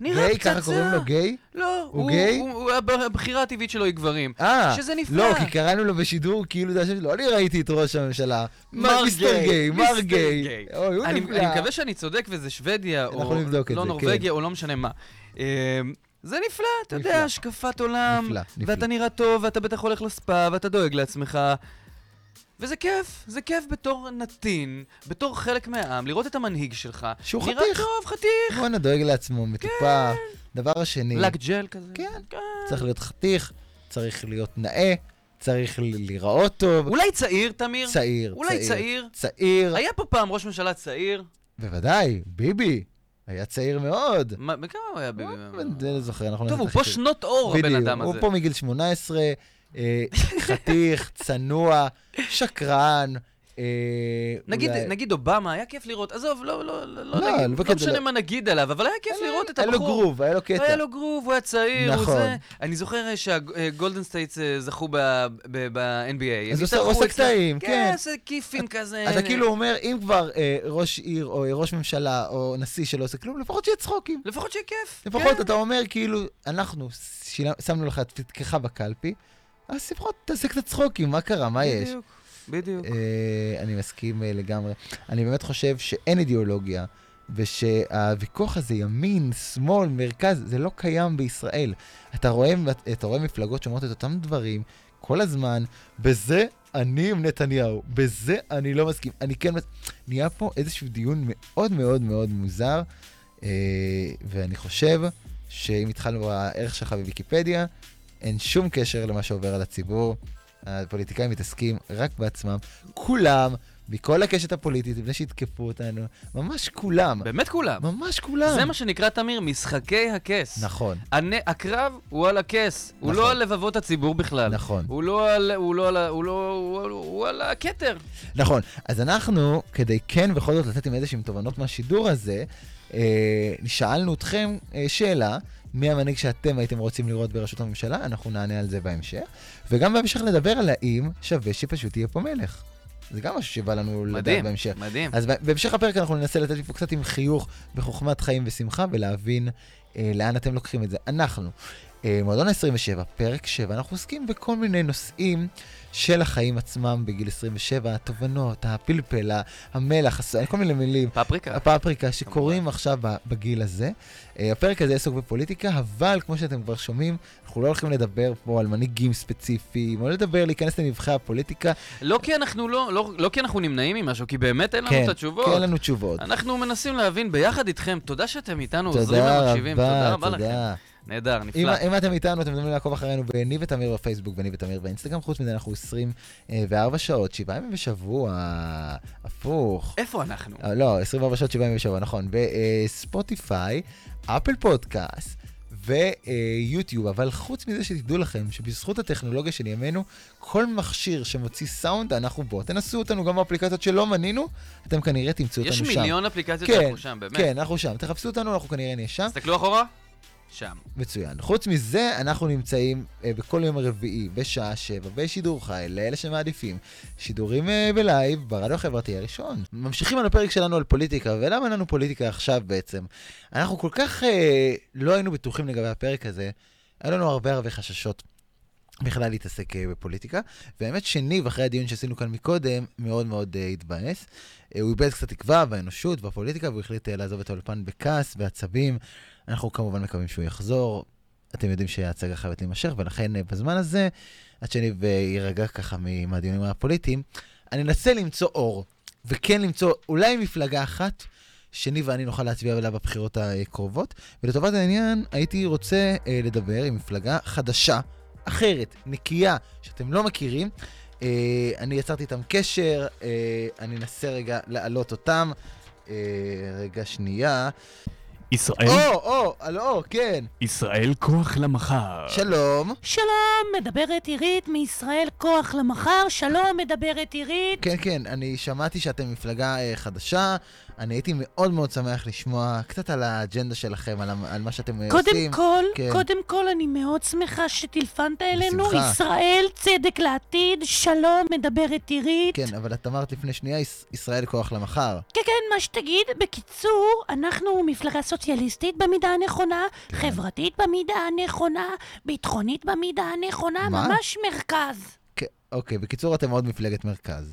Speaker 3: נראה
Speaker 4: גיי,
Speaker 3: פצצה.
Speaker 4: ככה קוראים לו גיי?
Speaker 3: לא,
Speaker 4: הוא גיי?
Speaker 3: הוא- הוא- הבחירה הטבעית שלו היא גברים.
Speaker 4: אה,
Speaker 3: שזה נפלא.
Speaker 4: לא, כי קראנו לו בשידור, כאילו זה השם שלו, אני ראיתי את ראש הממשלה.
Speaker 3: מר
Speaker 4: מיסטר
Speaker 3: גיי,
Speaker 4: גיי, מר
Speaker 3: מיסטר
Speaker 4: גיי.
Speaker 3: גיי.
Speaker 4: אוי, הוא
Speaker 3: אני,
Speaker 4: נפלא.
Speaker 3: אני מקווה שאני צודק וזה שוודיה,
Speaker 4: אנחנו
Speaker 3: או
Speaker 4: נבדוק את
Speaker 3: לא
Speaker 4: זה,
Speaker 3: נורבגיה,
Speaker 4: כן.
Speaker 3: או לא משנה מה. אמ, זה נפלא, אתה
Speaker 4: נפלא.
Speaker 3: יודע, השקפת עולם,
Speaker 4: נפלא, נפלא.
Speaker 3: ואתה נראה טוב, ואתה בטח הולך לספה, ואתה דואג לעצמך. וזה כיף, זה כיף בתור נתין, בתור חלק מהעם, לראות את המנהיג שלך.
Speaker 4: שהוא
Speaker 3: נראה
Speaker 4: חתיך.
Speaker 3: טוב, חתיך.
Speaker 4: בואנה, דואג לעצמו, מטופח.
Speaker 3: כן.
Speaker 4: דבר השני,
Speaker 3: לק ג'ל כזה.
Speaker 4: כן. צריך להיות חתיך, צריך להיות נאה, צריך ל- להיראות טוב.
Speaker 3: אולי צעיר, תמיר?
Speaker 4: צעיר,
Speaker 3: אולי צעיר?
Speaker 4: צעיר,
Speaker 3: היה פה פעם ראש ממשלה צעיר?
Speaker 4: בוודאי, ביבי היה צעיר מאוד.
Speaker 3: מה- בכמה הוא היה ביבי?
Speaker 4: אני לא זוכר, אנחנו
Speaker 3: טוב,
Speaker 4: נעשה
Speaker 3: הוא פה
Speaker 4: חישוב.
Speaker 3: שנות אור, הבן
Speaker 4: בדיוק,
Speaker 3: אדם
Speaker 4: הוא
Speaker 3: הזה.
Speaker 4: פה מגיל 18, אה, חתיך, צנוע, שקרן. אה,
Speaker 3: נגיד,
Speaker 4: אולי-
Speaker 3: נגיד אובמה, היה כיף לראות, עזוב, לא, לא, לא, לא,
Speaker 4: לא,
Speaker 3: נגיד,
Speaker 4: בקטע
Speaker 3: לא משנה
Speaker 4: לא.
Speaker 3: מה נגיד עליו, אבל היה כיף לראות את
Speaker 4: אה, היה לו
Speaker 3: הבחור. לא
Speaker 4: גרוב, היה לו קטע.
Speaker 3: היה לו גרוב, הוא היה צעיר,
Speaker 4: נכון.
Speaker 3: הוא זה. אני זוכר שהגולדן סטייטס אה, זכו ב-NBA.
Speaker 4: אז הוא עושה- עושה קטעים, כן.
Speaker 3: כן, עושה כיפים כזה.
Speaker 4: אתה כאילו אומר, אם כבר אה, ראש עיר או אה, ראש ממשלה או נשיא שלא עושה כלום, לפחות שיהיה צחוקים.
Speaker 3: לפחות שיהיה כיף.
Speaker 4: לפחות
Speaker 3: כן.
Speaker 4: אתה אומר, כאילו, אנחנו שילה- שמנו לך את פתקך בקלפי, אז שמחות, תעשה קצת צחוקים, מה קרה, מה יש?
Speaker 3: בדיוק, בדיוק.
Speaker 4: אה, אני מסכים אה, לגמרי. אני באמת חושב שאין אידיאולוגיה, ושהוויכוח הזה, ימין, שמאל, מרכז, זה לא קיים בישראל. אתה רואה, אתה רואה מפלגות שאומרות את אותם דברים כל הזמן, בזה אני עם נתניהו, בזה אני לא מסכים. אני כן... מס- נהיה פה איזשהו דיון מאוד מאוד מאוד מוזר, אה, ואני חושב שאם התחלנו בערך שלך בוויקיפדיה, אין שום קשר למה שעובר על הציבור. הפוליטיקאים מתעסקים רק בעצמם, כולם, מכל הקשת הפוליטית, לפני שיתקפו אותנו, ממש כולם,
Speaker 3: באמת כולם.
Speaker 4: ממש כולם.
Speaker 3: זה מה שנקרא, תמיר, משחקי הכס.
Speaker 4: נכון,
Speaker 3: הנ- הקרב הוא על הכס, הוא
Speaker 4: נכון.
Speaker 3: לא על לבבות הציבור בכלל.
Speaker 4: נכון.
Speaker 3: הוא לא על, הוא לא על, ה- הוא לא, הוא על- הוא על הכתר.
Speaker 4: נכון. אז אנחנו, כדי כן בכל זאת לצאת עם איזשהן תובנות מהשידור הזה, אה, שאלנו אתכם אה, שאלה, מי המנהיג שאתם הייתם רוצים לראות בראשות הממשלה, אנחנו נענה על זה בהמשך. וגם בהמשך נדבר על האם שווה שפשוט יהיה פה מלך. זה גם משהו שבא לנו לדעת
Speaker 3: מדהים,
Speaker 4: בהמשך.
Speaker 3: מדהים.
Speaker 4: אז ב- בהמשך הפרק אנחנו ננסה לתת פה קצת עם חיוך וחוכמת חיים ושמחה ולהבין אה, לאן אתם לוקחים את זה. אנחנו, אה, מועדון ה-27, פרק 7, אנחנו עוסקים בכל מיני נושאים של החיים עצמם בגיל 27, התובנות, הפלפל, ה- המלח, הס- כל מיני מילים.
Speaker 3: פפריקה.
Speaker 4: הפפריקה שקורים עכשיו ב- בגיל הזה. אה, הפרק הזה עסוק בפוליטיקה, אבל כמו שאתם כבר שומעים, אנחנו לא הולכים לדבר פה על מנהיגים ספציפיים, או לדבר, להיכנס לנבחרי הפוליטיקה.
Speaker 3: לא כי אנחנו לא, לא, לא כי אנחנו נמנעים ממשהו, כי באמת אין לנו
Speaker 4: כן,
Speaker 3: את התשובות.
Speaker 4: כי אין לנו תשובות.
Speaker 3: אנחנו מנסים להבין ביחד איתכם, תודה שאתם איתנו עוזרים
Speaker 4: תודה
Speaker 3: ומקשיבים, תודה
Speaker 4: רבה,
Speaker 3: רבה לכם.
Speaker 4: תודה.
Speaker 3: נהדר, נפלא.
Speaker 4: אם, אם אתם איתנו, אתם יכולים לעקוב אחרינו בניב ותמיר בפייסבוק, בניב ותמיר באינסטגרם, חוץ מזה אנחנו 24 שעות, 7 ימים בשבוע, הפוך.
Speaker 3: איפה אנחנו?
Speaker 4: אה, לא, 24 שעות, 7 ימים בשבוע, נכון. בספוטיפיי, אפל פודקאסט ויוטיוב, אבל חוץ מזה שתדעו לכם שבזכות הטכנולוגיה של ימינו, כל מכשיר שמוציא סאונד, אנחנו בו. תנסו אותנו גם באפליקציות שלא מנינו, אתם כנראה תמצאו אותנו
Speaker 3: יש
Speaker 4: שם.
Speaker 3: מיליון אפליקציות
Speaker 4: כן,
Speaker 3: שאנחנו שם, באמת.
Speaker 4: כן, אנחנו שם. תחפשו אותנו, אנחנו כנראה נהיה שם.
Speaker 3: תסתכלו אחורה, שם.
Speaker 4: מצוין. חוץ מזה, אנחנו נמצאים אה, בכל יום רביעי בשעה שבע בשידור חי, לאלה שמעדיפים, שידורים אה, בלייב ברדיו החברתי הראשון. ממשיכים על הפרק שלנו על פוליטיקה, ולמה אין לנו פוליטיקה עכשיו בעצם? אנחנו כל כך אה, לא היינו בטוחים לגבי הפרק הזה, היה לנו הרבה הרבה חששות. בכלל להתעסק אה, בפוליטיקה, והאמת שניב, אחרי הדיון שעשינו כאן מקודם, מאוד מאוד uh, התבאס. Uh, הוא איבד קצת תקווה באנושות, בפוליטיקה, והוא החליט uh, לעזוב את האולפן בכעס, בעצבים. אנחנו כמובן מקווים שהוא יחזור. אתם יודעים שההצגה חייבת להימשך, ולכן אה, בזמן הזה, עד שניב אה, יירגע ככה מ- מהדיונים הפוליטיים, אני אנסה למצוא אור, וכן למצוא אולי מפלגה אחת, שניב ואני נוכל להצביע עליה בבחירות הקרובות. ולטובת העניין, הייתי רוצה אה, לדבר עם מפלגה חדשה, אחרת, נקייה, שאתם לא מכירים. אה, אני יצרתי איתם קשר, אה, אני אנסה רגע להעלות אותם. אה, רגע שנייה.
Speaker 5: ישראל,
Speaker 4: או, או, הלו, כן.
Speaker 5: ישראל כוח למחר.
Speaker 4: שלום.
Speaker 6: שלום, מדברת עירית מישראל כוח למחר, שלום, מדברת עירית.
Speaker 4: כן, כן, אני שמעתי שאתם מפלגה אה, חדשה. אני הייתי מאוד מאוד שמח לשמוע קצת על האג'נדה שלכם, על, המ- על מה שאתם אה, עושים.
Speaker 6: קודם כל,
Speaker 4: כן.
Speaker 6: קודם כל אני מאוד שמחה שטילפנת אלינו,
Speaker 4: בשמחה.
Speaker 6: ישראל צדק לעתיד, שלום, מדברת עירית.
Speaker 4: כן, אבל את אמרת לפני שנייה, יש- ישראל כוח למחר.
Speaker 6: כן, כן, מה שתגיד. בקיצור, אנחנו מפלגה סוציאליסטית במידה הנכונה,
Speaker 4: כן.
Speaker 6: חברתית במידה הנכונה, ביטחונית במידה הנכונה,
Speaker 4: מה?
Speaker 6: ממש מרכז.
Speaker 4: כן, אוקיי, בקיצור, אתם עוד מפלגת מרכז.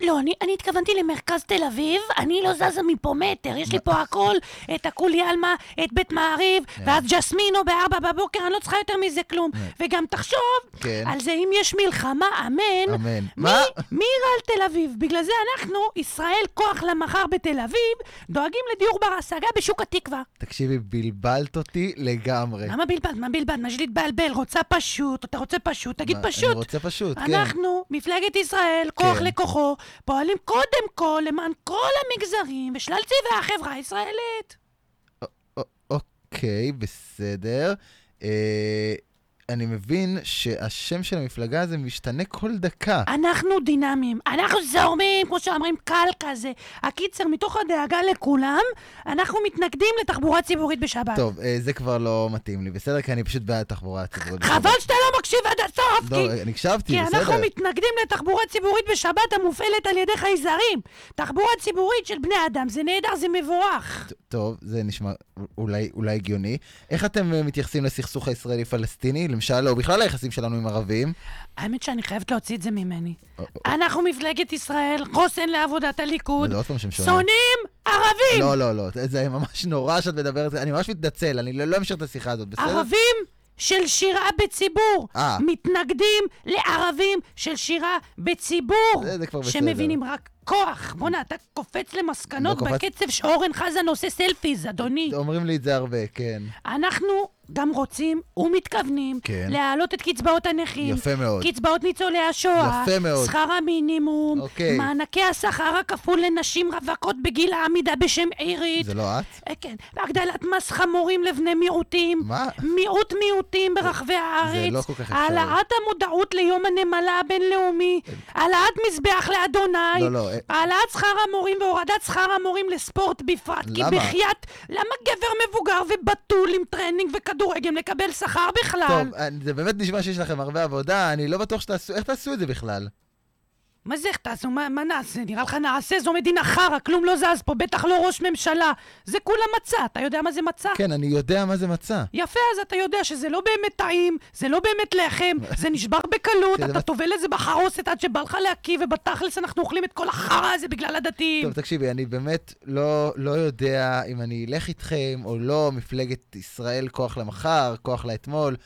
Speaker 6: לא, אני, אני התכוונתי למרכז תל אביב, אני לא זזה מפה מטר, יש לי פה הכל, את הכולי עלמה, את בית מעריב,
Speaker 4: כן.
Speaker 6: ואז ג'סמינו בארבע בבוקר, אני לא צריכה יותר מזה כלום. וגם תחשוב,
Speaker 4: כן.
Speaker 6: על זה אם יש מלחמה, אמן.
Speaker 4: אמן.
Speaker 6: מי-
Speaker 4: מה?
Speaker 6: מי יירה על תל אביב? בגלל זה אנחנו, ישראל כוח למחר בתל אביב, דואגים לדיור בר השגה בשוק התקווה.
Speaker 4: תקשיבי, בלבלת אותי לגמרי.
Speaker 6: למה בלבד? מה בלבד? מה יש להתבלבל? רוצה פשוט, אתה רוצה פשוט, תגיד
Speaker 4: מה, אני
Speaker 6: פשוט.
Speaker 4: רוצה פשוט, כן.
Speaker 6: אנחנו, מפלגת ישראל, כוח לכוחו, פועלים קודם כל למען כל המגזרים ושלל צבעי החברה הישראלית.
Speaker 4: א- אוקיי, בסדר. אה, אני מבין שהשם של המפלגה הזה משתנה כל דקה.
Speaker 6: אנחנו דינמיים, אנחנו זורמים, כמו שאומרים, קל כזה. הקיצר, מתוך הדאגה לכולם, אנחנו מתנגדים לתחבורה ציבורית בשבת.
Speaker 4: טוב, אה, זה כבר לא מתאים לי, בסדר? כי אני פשוט בעד תחבורה הציבורית.
Speaker 6: חבל שאתה לא מקשיב עד הסוף,
Speaker 4: לא,
Speaker 6: כי...
Speaker 4: אני הקשבתי,
Speaker 6: כי אנחנו
Speaker 4: בסדר.
Speaker 6: מתנגדים לתחבורה ציבורית בשבת המופעלת על ידי חייזרים. תחבורה ציבורית של בני אדם זה נהדר, זה מבורך.
Speaker 4: ט- טוב, זה נשמע אולי, אולי הגיוני. איך אתם אה, מתייחסים לסכסוך הישראלי-פלסטיני, למשל, או בכלל היחסים שלנו עם ערבים?
Speaker 6: האמת שאני חייבת להוציא את זה ממני.
Speaker 4: אה,
Speaker 6: אנחנו מפלגת ישראל, חוסן לעבודת הליכוד,
Speaker 4: זה לא, עוד פעם שם שונה.
Speaker 6: שונאים ערבים!
Speaker 4: לא, לא, לא, זה- זה ממש נורא שאת מדברת, אני ממש מתנצל, אני לא לא אמשיך את השיחה הזאת, בסדר?
Speaker 6: ערבים של שירה בציבור!
Speaker 4: אה.
Speaker 6: מתנגדים לערבים של שירה בציבור!
Speaker 4: זה- זה כבר בסדר.
Speaker 6: שמבינים רק כוח. בואנה, אתה קופץ למסקנות
Speaker 4: לא קופץ- לא,
Speaker 6: בקצב שאורן חזן עושה סלפיז, אדוני.
Speaker 4: אומרים לי את זה הרבה, כן.
Speaker 6: אנחנו גם רוצים ומתכוונים
Speaker 4: כן.
Speaker 6: להעלות את קצבאות הנכים.
Speaker 4: יפה מאוד.
Speaker 6: קצבאות ניצולי השואה.
Speaker 4: יפה מאוד.
Speaker 6: שכר המינימום.
Speaker 4: אוקיי.
Speaker 6: מענקי השכר הכפול לנשים רווקות בגיל העמידה בשם עירית.
Speaker 4: זה לא את?
Speaker 6: אה, כן. הגדלת מס חמורים לבני מיעוטים.
Speaker 4: מה?
Speaker 6: מיעוט מיעוטים ברחבי הארץ.
Speaker 4: לא כל כך אפשרי.
Speaker 6: העלאת המודעות ליום הנמלה הבינלאומי. העלאת מזבח לאדוני.
Speaker 4: אה, לא, לא, אה,
Speaker 6: העלאת שכר המורים והורדת שכר המורים לספורט בפרט.
Speaker 4: למה?
Speaker 6: כי בחייאת, למה גבר מבוגר ובתול עם טרנינג וכדורגל מקבל שכר בכלל?
Speaker 4: טוב, אה, זה באמת נשמע שיש לכם הרבה עבודה, אני לא בטוח שתעשו, איך תעשו את זה בכלל?
Speaker 6: מה זה, איך תעשו? מה, מה נעשה? נראה לך נעשה? זו מדינה חרא, כלום לא זז פה, בטח לא ראש ממשלה. זה כולה מצה, אתה יודע מה זה מצה?
Speaker 4: כן, אני יודע מה זה מצה.
Speaker 6: יפה, אז אתה יודע שזה לא באמת טעים, זה לא באמת לחם, זה נשבר בקלות,
Speaker 4: כן, זה
Speaker 6: אתה
Speaker 4: מצ-
Speaker 6: טובל את זה בחרוסת עד שבא לך להקיא, ובתכלס אנחנו אוכלים את כל החרא הזה בגלל הדתיים.
Speaker 4: טוב, תקשיבי, אני באמת לא, לא יודע אם אני אלך איתכם או לא, מפלגת ישראל, כוח למחר, כוח לאתמול,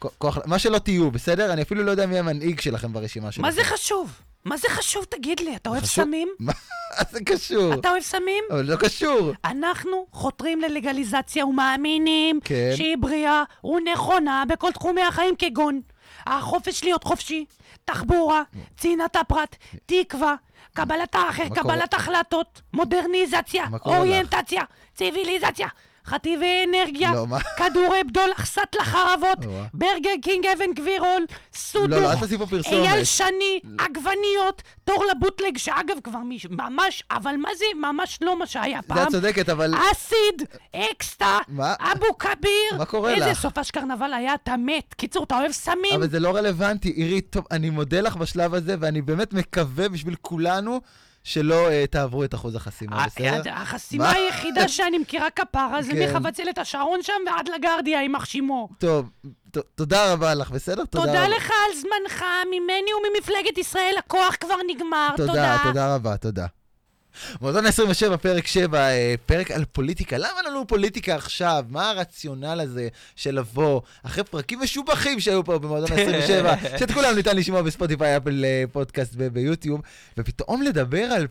Speaker 4: כ- כוח... ל- מה שלא תהיו, בסדר? אני אפילו לא יודע מי המנהיג שלכם ברשימה שלכם.
Speaker 6: מה זה חשוב? מה זה חשוב, תגיד לי? אתה אוהב
Speaker 4: חשוב?
Speaker 6: סמים?
Speaker 4: מה זה קשור?
Speaker 6: אתה אוהב סמים?
Speaker 4: אבל לא קשור.
Speaker 6: אנחנו חותרים ללגליזציה ומאמינים
Speaker 4: כן.
Speaker 6: שהיא בריאה ונכונה בכל תחומי החיים כגון החופש להיות חופשי, תחבורה, צנעת הפרט, תקווה, קבלת האחר,
Speaker 4: כן. מה קורה?
Speaker 6: קבלת החלטות, מודרניזציה,
Speaker 4: מה קורה לך?
Speaker 6: אוריינטציה, ציוויליזציה. חטיבי אנרגיה,
Speaker 4: לא, מה?
Speaker 6: כדורי בדולח, סט לחרבות,
Speaker 4: או-אה.
Speaker 6: ברגר קינג אבן גבירול, סודו,
Speaker 4: לא, לא, אל תעשי פה פרסומת. לא.
Speaker 6: אייל שני, עגבניות, תור לבוטלג, שאגב כבר מיש- ממש, אבל מה זה, ממש לא מה שהיה
Speaker 4: זה את
Speaker 6: פעם.
Speaker 4: צודקת, אבל...
Speaker 6: אסיד, אקסטה,
Speaker 4: מה?
Speaker 6: אבו כביר.
Speaker 4: מה קורה
Speaker 6: איזה
Speaker 4: לך?
Speaker 6: סופש קרנבל היה, אתה מת. קיצור, אתה אוהב סמים?
Speaker 4: אבל זה לא רלוונטי. עירית, טוב, אני מודה לך בשלב הזה, ואני באמת מקווה בשביל כולנו שלא אה, תעברו את אחוז
Speaker 6: אה,
Speaker 4: החסימה, בסדר?
Speaker 6: ה- החסימה
Speaker 4: מה?
Speaker 6: היחידה שאני מכירה כפרה זה
Speaker 4: כן.
Speaker 6: מחבצלת השרון שם ועד לגרדיה, יימח שמו.
Speaker 4: טוב, ת- תודה רבה לך, בסדר?
Speaker 6: תודה
Speaker 4: רבה.
Speaker 6: לך על זמנך, ממני וממפלגת ישראל, הכוח כבר נגמר.
Speaker 4: תודה, תודה רבה, תודה. מועדון 27, פרק 7, אה, פרק על פוליטיקה. למה לנו פוליטיקה עכשיו? מה הרציונל הזה של לבוא אחרי פרקים משובחים שהיו פה במועדון 27, שאת כולם ניתן לשמוע בספוטיפיי, אפל אה, פודקאסט ו- ביוטיוב, ופתאום לדבר על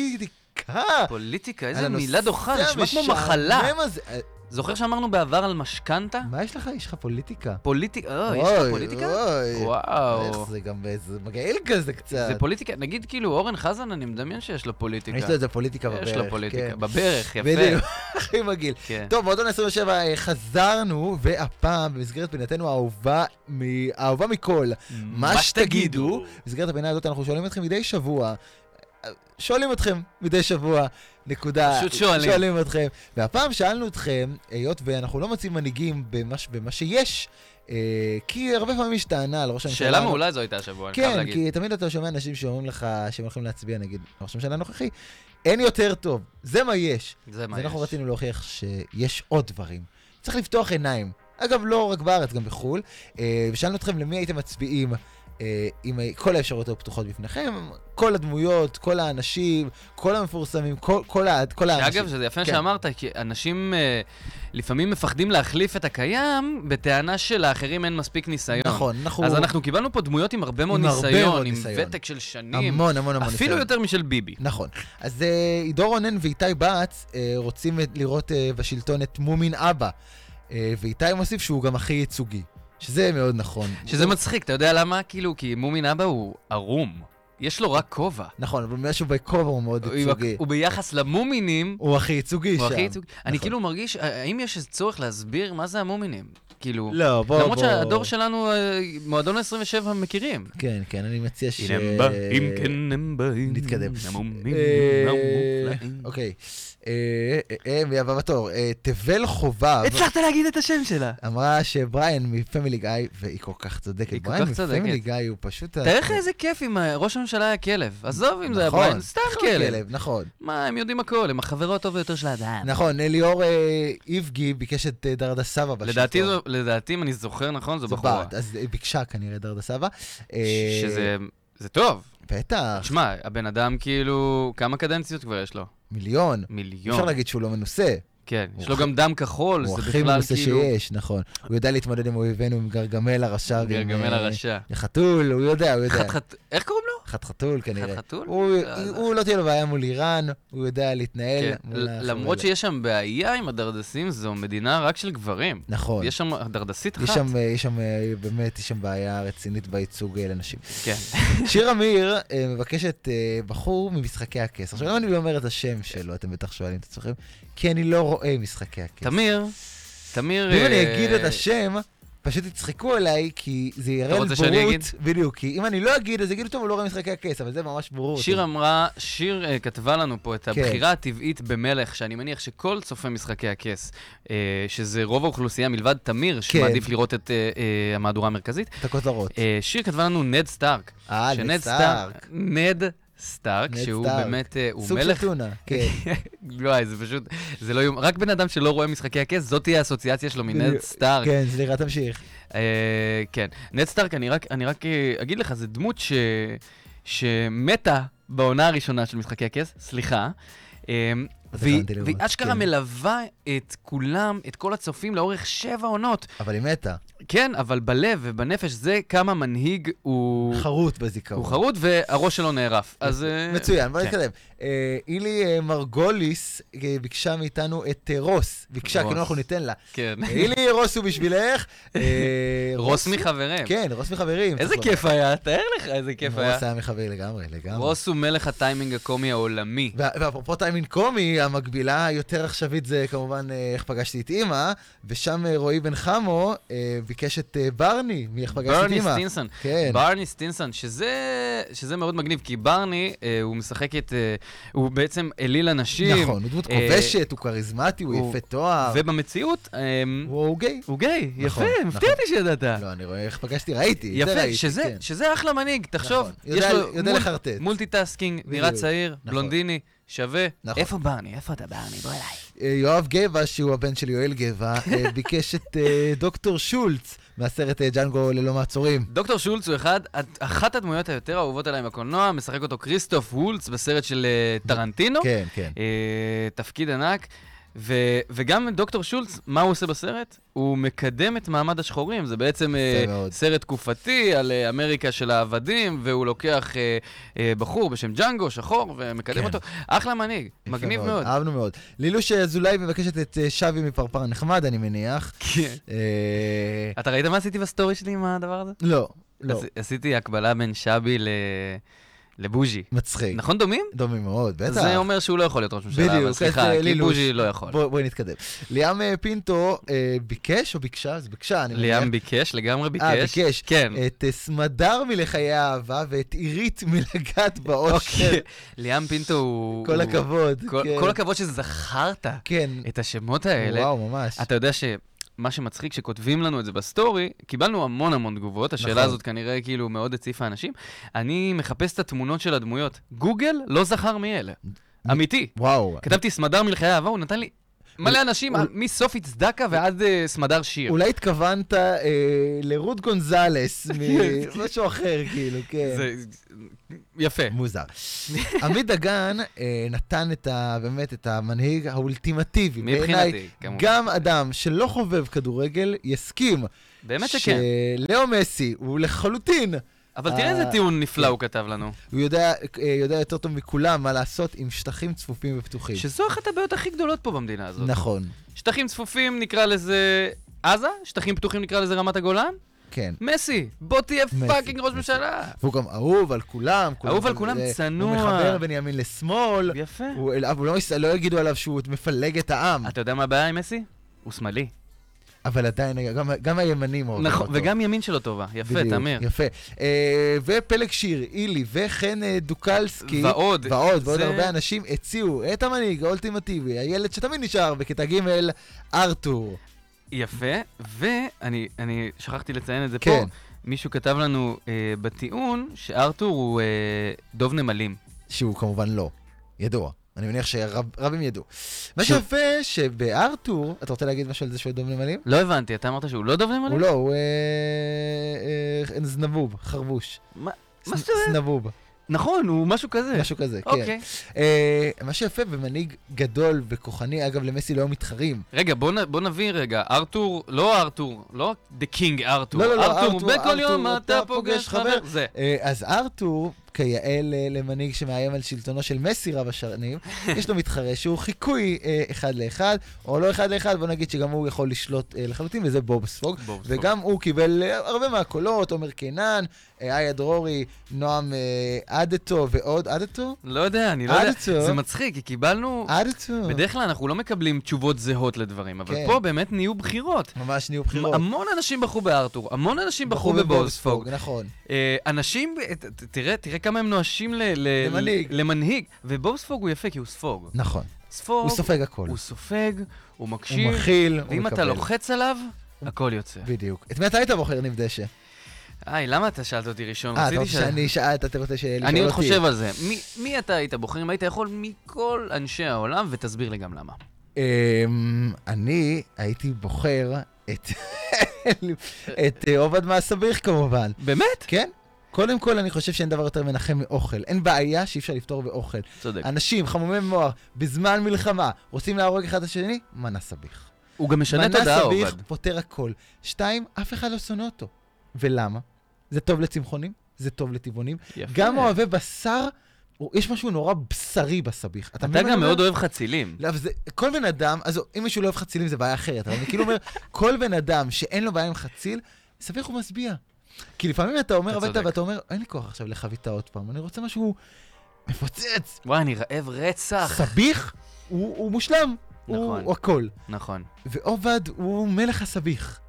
Speaker 4: פוליטיקה?
Speaker 3: פוליטיקה,
Speaker 4: אה, על
Speaker 3: איזה
Speaker 4: הנושא
Speaker 3: מילה דוחה, זה נשמע כמו מחלה.
Speaker 4: המשעמם הזה. אה,
Speaker 3: זוכר שאמרנו בעבר על משכנתה?
Speaker 4: מה יש לך? יש לך פוליטיקה.
Speaker 3: פוליטיקה, אוי, יש לך פוליטיקה?
Speaker 4: אוי,
Speaker 3: וואו.
Speaker 4: איך זה גם באיזה מגעיל כזה קצת.
Speaker 3: זה פוליטיקה, נגיד כאילו אורן חזן, אני מדמיין שיש לו פוליטיקה.
Speaker 4: יש לו איזה פוליטיקה בברך.
Speaker 3: יש לו פוליטיקה,
Speaker 4: כן.
Speaker 3: בברך, יפה.
Speaker 4: בדיוק, הכי מגעיל.
Speaker 3: כן.
Speaker 4: טוב, מועדון 27, אה, חזרנו, והפעם במסגרת פינתנו האהובה מ- האהובה מכל, מה שתגידו, במסגרת הפינה הזאת אנחנו שואלים אתכם מדי שבוע, אה, שואלים אתכם מדי שבוע, נקודה,
Speaker 3: פשוט שואלים.
Speaker 4: שואלים אתכם, והפעם שאלנו אתכם, היות ואנחנו לא מוצאים מנהיגים במה, ש- במה שיש, אה, כי הרבה פעמים יש טענה על ראש הממשלה.
Speaker 3: שאלה מעולה זו הייתה השבוע, אני חייב
Speaker 4: כן,
Speaker 3: להגיד.
Speaker 4: כי תמיד אתה שומע אנשים שאומרים לך שהם הולכים להצביע נגד ראש הממשלה הנוכחי, אין יותר טוב, זה מה יש.
Speaker 3: זה מה
Speaker 4: אז אנחנו
Speaker 3: יש.
Speaker 4: רצינו להוכיח שיש עוד דברים. צריך לפתוח עיניים. אגב, לא רק בארץ, גם בחו"ל. אה, ושאלנו אתכם למי הייתם מצביעים אה, אם ה- כל האפשרויות היו פתוחות בפניכם, כל הדמויות, כל האנשים, כל המפורסמים, כל, כל, ה- כל האנשים.
Speaker 3: שאגב, שזה יפה
Speaker 4: כן.
Speaker 3: שאמרת, כי אנשים אה, לפעמים מפחדים להחליף את הקיים בטענה שלאחרים אין מספיק ניסיון.
Speaker 4: נכון, אנחנו...
Speaker 3: אז אנחנו קיבלנו פה דמויות עם הרבה מאוד
Speaker 4: עם הרבה מאוד
Speaker 3: ניסיון, עם
Speaker 4: ניסיון.
Speaker 3: ותק של שנים,
Speaker 4: המון, המון, המון
Speaker 3: אפילו
Speaker 4: ניסיון.
Speaker 3: יותר משל ביבי.
Speaker 4: נכון. אז אה, עידו רונן ואיתי בץ אה, רוצים את- לראות אה, בשלטון את מומין אבא. אה, ואיתי מוסיף שהוא גם הכי ייצוגי. שזה מאוד נכון.
Speaker 3: שזה מצחיק, אתה יודע למה? כאילו, כי מומין אבא הוא ערום. יש לו רק כובע.
Speaker 4: נכון, אבל משהו בכובע הוא מאוד
Speaker 3: הוא-
Speaker 4: ייצוגי.
Speaker 3: הוא ביחס למומינים,
Speaker 4: הוא הכי ייצוגי שם.
Speaker 3: הוא הכי ייצוג. אני
Speaker 4: נכון.
Speaker 3: כאילו מרגיש, אה, האם יש איזה צורך להסביר מה זה המומינים? כאילו,
Speaker 4: לא, בוא, בוא.
Speaker 3: למרות שהדור שלנו, אה, מועדון 27 מכירים.
Speaker 4: כן, כן, אני מציע ש...
Speaker 5: הנה הם באים, כן הם באים.
Speaker 4: נתקדם.
Speaker 5: המומים,
Speaker 4: אה,
Speaker 3: לא,
Speaker 5: המופלאים.
Speaker 4: אוקיי. אה, אה, אה, מי הבא בתור? אה, תבל חובב
Speaker 3: הצלחת להגיד את השם שלה.
Speaker 4: אמרה שבריאן מפמילי גיא, והיא כל כך צודקת.
Speaker 3: היא כל
Speaker 4: בריאן
Speaker 3: כך צודקת.
Speaker 4: מפמילי גיא הוא פשוט... ה-
Speaker 3: תאר לך איזה כיף אם אה, ראש שלה היה כלב. עזוב אם זה היה
Speaker 4: נכון,
Speaker 3: בריין, סתם
Speaker 4: נכון,
Speaker 3: כלב.
Speaker 4: נכון.
Speaker 3: מה, הם יודעים הכל, הם החברו הטוב ביותר של האדם.
Speaker 4: נכון, ליאור אה, איבגי ביקש את אה, דרדה סבא בשלטון.
Speaker 3: לדעתי, זו- לדעתי, אם אני זוכר נכון, זו
Speaker 4: זו
Speaker 3: בחורה.
Speaker 4: בת, אז היא ביקשה כנראה דרדה סבא. אה,
Speaker 3: ש- שזה... זה טוב.
Speaker 4: בטח,
Speaker 3: תשמע, הבן אדם כאילו, כמה קדנציות כבר יש לו?
Speaker 4: מיליון.
Speaker 3: מיליון.
Speaker 4: אפשר להגיד שהוא לא מנוסה,
Speaker 3: כן, יש
Speaker 4: הוא
Speaker 3: לו גם דם כחול,
Speaker 4: הוא
Speaker 3: זה
Speaker 4: הכי
Speaker 3: בכלל
Speaker 4: מנוסה
Speaker 3: כאילו...
Speaker 4: שיש, נכון. הוא יודע להתמודד עם אויבינו, עם גרגמל הרשע. ועם,
Speaker 3: גרגמל
Speaker 4: אה,
Speaker 3: הרשע.
Speaker 4: חתול, הוא יודע, הוא יודע.
Speaker 3: חתחת... איך קוראים לו?
Speaker 4: חתחתול כנראה.
Speaker 3: חתחתול?
Speaker 4: כן. הוא-
Speaker 3: לא יודע.
Speaker 4: הוא לא תהיה לו בעיה מול איראן, הוא יודע להתנהל.
Speaker 3: כן,
Speaker 4: מול
Speaker 3: ל-
Speaker 4: החבר'ה
Speaker 3: למרות
Speaker 4: האלה.
Speaker 3: שיש שם בעיה עם הדרדסים, זו מדינה רק של גברים.
Speaker 4: נכון.
Speaker 3: יש שם דרדסית אחת.
Speaker 4: יש שם, אה, יש שם, אה, באמת, יש שם בעיה רצינית בייצוג אה, לנשים.
Speaker 3: כן.
Speaker 4: שיר אמיר אה, מבקשת אה, בחור ממשחקי הכס. עכשיו, למה אני לא אומר את השם שלו, אתם בטח שואלים את עצמכם? כי אני לא רואה משחקי הכס.
Speaker 3: תמיר, תמיר...
Speaker 4: ואם אני
Speaker 3: אה,
Speaker 4: אגיד את השם, פשוט יצחקו עליי, כי זה יראה לי בורות.
Speaker 3: רוצה שאני אגיד?
Speaker 4: בדיוק, כי אם אני לא אגיד, אז יגידו, טוב, הוא לא רואה משחקי הכס, אבל זה ממש בורות.
Speaker 3: שיר אמרה, שיר אה, כתבה לנו פה את
Speaker 4: כן.
Speaker 3: הבחירה הטבעית במלך, שאני מניח שכל צופה משחקי הכס, אה, שזה רוב האוכלוסייה מלבד
Speaker 4: כן.
Speaker 3: תמיר, שמעדיף לראות את אה, אה, המהדורה המרכזית,
Speaker 4: את הכותרות.
Speaker 3: אה, שיר כתבה לנו נד סטארק.
Speaker 4: אה,
Speaker 3: שנד
Speaker 4: נד סטארק.
Speaker 3: נד סטארק,
Speaker 4: נד
Speaker 3: שהוא
Speaker 4: סטארק.
Speaker 3: באמת, אה, הוא
Speaker 4: סוג של
Speaker 3: מלך...
Speaker 4: טונה, כן.
Speaker 3: וואי, זה פשוט, זה לא יום... רק בן אדם שלא רואה משחקי הכס, זאת תהיה האסוציאציה שלו מנד סטארק.
Speaker 4: כן, סליחה, תמשיך.
Speaker 3: אה, כן. נד סטארק, אני רק, אני רק אה, אגיד לך, זו דמות ש... שמתה בעונה הראשונה של משחקי הכס, סליחה. אה, והיא,
Speaker 4: הבנתי
Speaker 3: והיא
Speaker 4: למה,
Speaker 3: אשכרה
Speaker 4: כן.
Speaker 3: מלווה את כולם, את כל הצופים, לאורך שבע עונות.
Speaker 4: אבל היא מתה.
Speaker 3: כן, אבל בלב ובנפש זה כמה מנהיג הוא,
Speaker 4: חרוט בזיכרון.
Speaker 3: הוא חרוט והראש שלו נערף. אז... אה,
Speaker 4: מצוין, בוא
Speaker 3: כן.
Speaker 4: נתקדם. אה, אילי אה, מרגוליס אה, ביקשה מאיתנו את אה, רוס. ביקשה,
Speaker 3: רוס.
Speaker 4: כאילו אנחנו ניתן לה.
Speaker 3: כן.
Speaker 4: אה, אילי, רוס הוא בשבילך. אה,
Speaker 3: רוס מחברים.
Speaker 4: כן, לא. רוס מחברים.
Speaker 3: איזה
Speaker 4: צריך
Speaker 3: כיף היה, תאר לך איזה כיף
Speaker 4: לומר.
Speaker 3: היה.
Speaker 4: רוס היה מחבר לגמרי, לגמרי.
Speaker 3: רוס הוא מלך הטיימינג הקומי העולמי.
Speaker 4: וה- ואפרופו טיימינג קומי, המקבילה היותר עכשווית זה כמובן אה, איך פגשתי את אימא, ושם אה, רועי בן חמו אה, ביקש את אה, ברני מאיך פגשתי את
Speaker 3: ברני
Speaker 4: אימא.
Speaker 3: סטינסון.
Speaker 4: כן.
Speaker 3: ברני סטינסון, שזה, שזה מאוד מגניב, כי ברני, אה, הוא משחק את... אה, הוא בעצם אליל אנשים.
Speaker 4: נכון, הוא דמות
Speaker 3: אה,
Speaker 4: כובשת, הוא כריזמטי, הוא
Speaker 3: הוא-
Speaker 4: יפה תואר,
Speaker 3: ובמציאות, אה,
Speaker 4: הוא גיי.
Speaker 3: הוא גיי,
Speaker 4: נכון,
Speaker 3: יפה, מפתיע
Speaker 4: נכון.
Speaker 3: אותי שידעת.
Speaker 4: לא, אני רואה איך פגשתי, ראיתי, את זה
Speaker 3: אה. יפה,
Speaker 4: ראיתי,
Speaker 3: שזה-
Speaker 4: כן.
Speaker 3: שזה אחלה מנהיג, תחשוב.
Speaker 4: נכון, יודע-
Speaker 3: יש לו
Speaker 4: יודע
Speaker 3: מול-
Speaker 4: לחרטט.
Speaker 3: מולטיטאסקינג, נראה
Speaker 4: בדיוק,
Speaker 3: צעיר, בלונדיני, שווה.
Speaker 4: נכון.
Speaker 3: איפה ברני? איפה אתה ברני? בוא אליי.
Speaker 4: אה, יואב גבע, שהוא הבן של יואל גבע, אה, ביקש את אה, דוקטור שולץ מהסרט אה, ג'אנגו ללא מעצורים.
Speaker 3: דוקטור שולץ הוא אחד, אחת הדמויות היותר אהובות עליי בקולנוע, משחק אותו כריסטוף וולץ בסרט של אה, טרנטינו.
Speaker 4: כן, כן.
Speaker 3: אה, תפקיד ענק. ו- וגם דוקטור שולץ, מה הוא עושה בסרט? הוא מקדם את מעמד השחורים. זה בעצם אה,
Speaker 4: יפה מאוד.
Speaker 3: סרט תקופתי על אה, אמריקה של העבדים, והוא לוקח אה, אה, בחור בשם ג'אנגו, שחור, ומקדם
Speaker 4: כן.
Speaker 3: אותו. אחלה מנהיג, מגניב
Speaker 4: יפה
Speaker 3: מאוד.
Speaker 4: אהבנו מאוד. אה, לילוש אזולאי מבקשת את אה, שווי מפרפר נחמד, אני מניח.
Speaker 3: כן.
Speaker 4: אה,
Speaker 3: אתה ראית מה עשיתי בסטורי שלי עם הדבר הזה?
Speaker 4: לא, לא.
Speaker 3: אז עשיתי הקבלה בין שבי ל- לבוז'י.
Speaker 4: מצחיק.
Speaker 3: נכון דומים?
Speaker 4: דומים מאוד, בטח.
Speaker 3: זה אומר שהוא לא יכול להיות ראש ממשלה,
Speaker 4: בדיוק,
Speaker 3: אבל
Speaker 4: אז,
Speaker 3: סליחה,
Speaker 4: אה,
Speaker 3: כי
Speaker 4: לילוש.
Speaker 3: בוז'י לא יכול.
Speaker 4: בוא- בואי נתקדם. ליאם אה, פינטו אה, ביקש או ביקשה? אז ביקשה, אני מניח.
Speaker 3: ליאם ביקש, לגמרי ביקש.
Speaker 4: אה, ביקש.
Speaker 3: כן.
Speaker 4: את אה, סמדר מלחיי האהבה ואת עירית מלגעת באושר.
Speaker 3: אוקיי. ליאם פינטו הוא...
Speaker 4: כל
Speaker 3: הוא-
Speaker 4: הכבוד.
Speaker 3: כל-
Speaker 4: כן.
Speaker 3: כל הכבוד שזכרת
Speaker 4: כן.
Speaker 3: את השמות האלה.
Speaker 4: וואו, ממש.
Speaker 3: אתה יודע ש... מה שמצחיק, שכותבים לנו את זה בסטורי, קיבלנו המון המון תגובות,
Speaker 4: נכון.
Speaker 3: השאלה הזאת כנראה כאילו מאוד הציפה אנשים. אני מחפש את התמונות של הדמויות. גוגל לא זכר מי אלה. אמיתי.
Speaker 4: וואו.
Speaker 3: כתבתי סמדר מלחיי אהבה, הוא נתן לי מלא אנשים,
Speaker 4: אול-
Speaker 3: מסופי צדקה ועד אה, סמדר שיר.
Speaker 4: אולי התכוונת אה, לרות גונזלס ממשהו אחר, כאילו, כן.
Speaker 3: זה... יפה.
Speaker 4: מוזר. עמית דגן אה, נתן את ה... באמת את המנהיג האולטימטיבי. בעיניי,
Speaker 3: מבחינתי, כמובן.
Speaker 4: גם אדם שלא חובב כדורגל יסכים
Speaker 3: באמת שכן.
Speaker 4: שלאו מסי הוא לחלוטין,
Speaker 3: אבל תראה איזה
Speaker 4: אה,
Speaker 3: טיעון נפלא הוא כתב לנו.
Speaker 4: הוא יודע, אה, יודע יותר טוב מכולם מה לעשות עם שטחים צפופים ופתוחים.
Speaker 3: שזו אחת הבעיות הכי גדולות פה במדינה הזאת.
Speaker 4: נכון,
Speaker 3: שטחים צפופים נקרא לזה עזה, שטחים פתוחים נקרא לזה רמת הגולן.
Speaker 4: כן.
Speaker 3: מסי, בוא תהיה
Speaker 4: מסי,
Speaker 3: פאקינג ראש
Speaker 4: מסי.
Speaker 3: ממשלה.
Speaker 4: והוא גם אהוב על כולם.
Speaker 3: אהוב על כולם,
Speaker 4: אה,
Speaker 3: צנוע.
Speaker 4: הוא מחבר בין ימין לשמאל.
Speaker 3: יפה.
Speaker 4: הוא, אבל לא, יס- לא יגידו עליו שהוא מפלג את העם,
Speaker 3: אתה יודע מה הבעיה עם מסי? הוא שמאלי.
Speaker 4: אבל עדיין, גם, גם הימנים אוהבים
Speaker 3: נכון,
Speaker 4: אותו.
Speaker 3: וגם ימין שלו טובה. יפה,
Speaker 4: בדיוק,
Speaker 3: תמיר.
Speaker 4: יפה. אה, ופלג שיר, אילי וחן אה, דוקלסקי.
Speaker 3: ועוד.
Speaker 4: ועוד, ועוד
Speaker 3: זה-
Speaker 4: הרבה אנשים הציעו את המנהיג האולטימטיבי, הילד שתמיד נשאר בכיתה ג', ארתור.
Speaker 3: יפה, ואני אני שכחתי לציין את זה
Speaker 4: כן.
Speaker 3: פה. מישהו כתב לנו אה, בטיעון שארתור הוא אה, דוב נמלים.
Speaker 4: שהוא כמובן לא. ידוע. אני מניח שרבים ידעו. מה
Speaker 3: ש-
Speaker 4: שיפה שבארתור, אתה רוצה להגיד משהו על זה שהוא דום נמלים?
Speaker 3: לא הבנתי, אתה אמרת שהוא לא דוב נמלים?
Speaker 4: הוא לא, הוא אה, אה, אה, זנבוב, חרבוש.
Speaker 3: מה-
Speaker 4: ז-
Speaker 3: מה זאת אומרת?
Speaker 4: זנבוב,
Speaker 3: נכון, הוא משהו כזה.
Speaker 4: משהו כזה, כן.
Speaker 3: אוקיי.
Speaker 4: אה, מה שיפה במנהיג גדול וכוחני, אגב, למסי לא היו מתחרים.
Speaker 3: רגע, בוא, נ, בוא נבין רגע, ארתור, לא ארתור, לא דה קינג ארתור.
Speaker 4: לא, לא, לא,
Speaker 3: ארתור,
Speaker 4: ארתור,
Speaker 3: בכל יום
Speaker 4: ארתור,
Speaker 3: אתה פוגש חבר. זה.
Speaker 4: אה, אז ארתור, כיאה ל- למנהיג שמאיים על שלטונו של מסי רב השנים, יש לו מתחרה שהוא חיקוי אה, אחד לאחד, או לא אחד לאחד, בוא נגיד שגם הוא יכול לשלוט אה, לחלוטין, וזה בוב ספוג.
Speaker 3: בוב ספוג.
Speaker 4: וגם הוא קיבל אה, הרבה מהקולות, עומר קינן, אה, איה דרורי, נועם אה, עדתו ועוד עדתו.
Speaker 3: לא יודע, אני לא
Speaker 4: עד
Speaker 3: יודע.
Speaker 4: עצוב.
Speaker 3: זה מצחיק, כי קיבלנו...
Speaker 4: אה. עדתו.
Speaker 3: בדרך כלל אנחנו לא מקבלים תשובות זהות לדברים, אבל
Speaker 4: כן.
Speaker 3: פה באמת נהיו בחירות.
Speaker 4: ממש נהיו בחירות.
Speaker 3: המון אנשים בחרו בארתור, המון אנשים בחרו
Speaker 4: בחרו
Speaker 3: בבובספוג.
Speaker 4: נכון.
Speaker 3: אה, אנשים, אה, ת- ת- תראה, תראה כמה הם נואשים ל- ל-
Speaker 4: למנהיג.
Speaker 3: למנהיג. ובובספוג הוא יפה, כי הוא ספוג.
Speaker 4: נכון.
Speaker 3: ספוג,
Speaker 4: הוא סופג הכל.
Speaker 3: הוא סופג, הוא
Speaker 4: הוא
Speaker 3: מקשיב,
Speaker 4: מכיל, הוא מקבל.
Speaker 3: ואם אתה לוחץ עליו, הכל יוצא.
Speaker 4: בדיוק. את מי אתה היית בוחר, ניב דשא?
Speaker 3: היי, למה אתה שאלת אותי ראשון?
Speaker 4: אה, אתה
Speaker 3: רציתי
Speaker 4: רוצה
Speaker 3: ש-
Speaker 4: שאני אשאל, אתה רוצה לשאול
Speaker 3: אני עוד
Speaker 4: אותי?
Speaker 3: חושב על זה. מי- מי אתה היית בוחר אם היית יכול מכל אנשי העולם, ותסביר לי גם למה.
Speaker 4: אמ, אני הייתי בוחר את את אה, עובד מהסביך כמובן.
Speaker 3: באמת?
Speaker 4: כן? קודם כל, אני חושב שאין דבר יותר מנחם מאוכל. אין בעיה שאי אפשר לפתור באוכל.
Speaker 3: צודק.
Speaker 4: אנשים חמומי מוח, בזמן מלחמה, רוצים להרוג אחד את השני, מנה סביך.
Speaker 3: הוא גם משנה
Speaker 4: מנה
Speaker 3: תודעה,
Speaker 4: סביך
Speaker 3: עובד.
Speaker 4: פותר הכל. שתיים, אף אחד לא שונא אותו. ולמה? זה טוב לצמחונים, זה טוב לטבעונים.
Speaker 3: יפה.
Speaker 4: גם אוהבי בשר, הוא- יש משהו נורא בשרי בסביך.
Speaker 3: אתה
Speaker 4: מבין מה
Speaker 3: גם
Speaker 4: אני אומר?
Speaker 3: מאוד אוהב חצילים.
Speaker 4: לא, אבל זה, כל בן אדם, אז אם מישהו לא אוהב חצילים זה בעיה אחרת, אבל אני כאילו אומר, כל בן אדם שאין לו בעיה עם חציל, סביך הוא משביע. כי לפעמים אתה אומר,
Speaker 3: אתה
Speaker 4: עבדת
Speaker 3: צודק.
Speaker 4: ואתה אומר, אין לי כוח עכשיו לחביתה עוד פעם, אני רוצה משהו מפוצץ.
Speaker 3: וואי, אני רעב רצח.
Speaker 4: סביך הוא, הוא מושלם, הוא,
Speaker 3: נכון.
Speaker 4: הוא הכל.
Speaker 3: נכון.
Speaker 4: ועובד הוא מלך הסביך.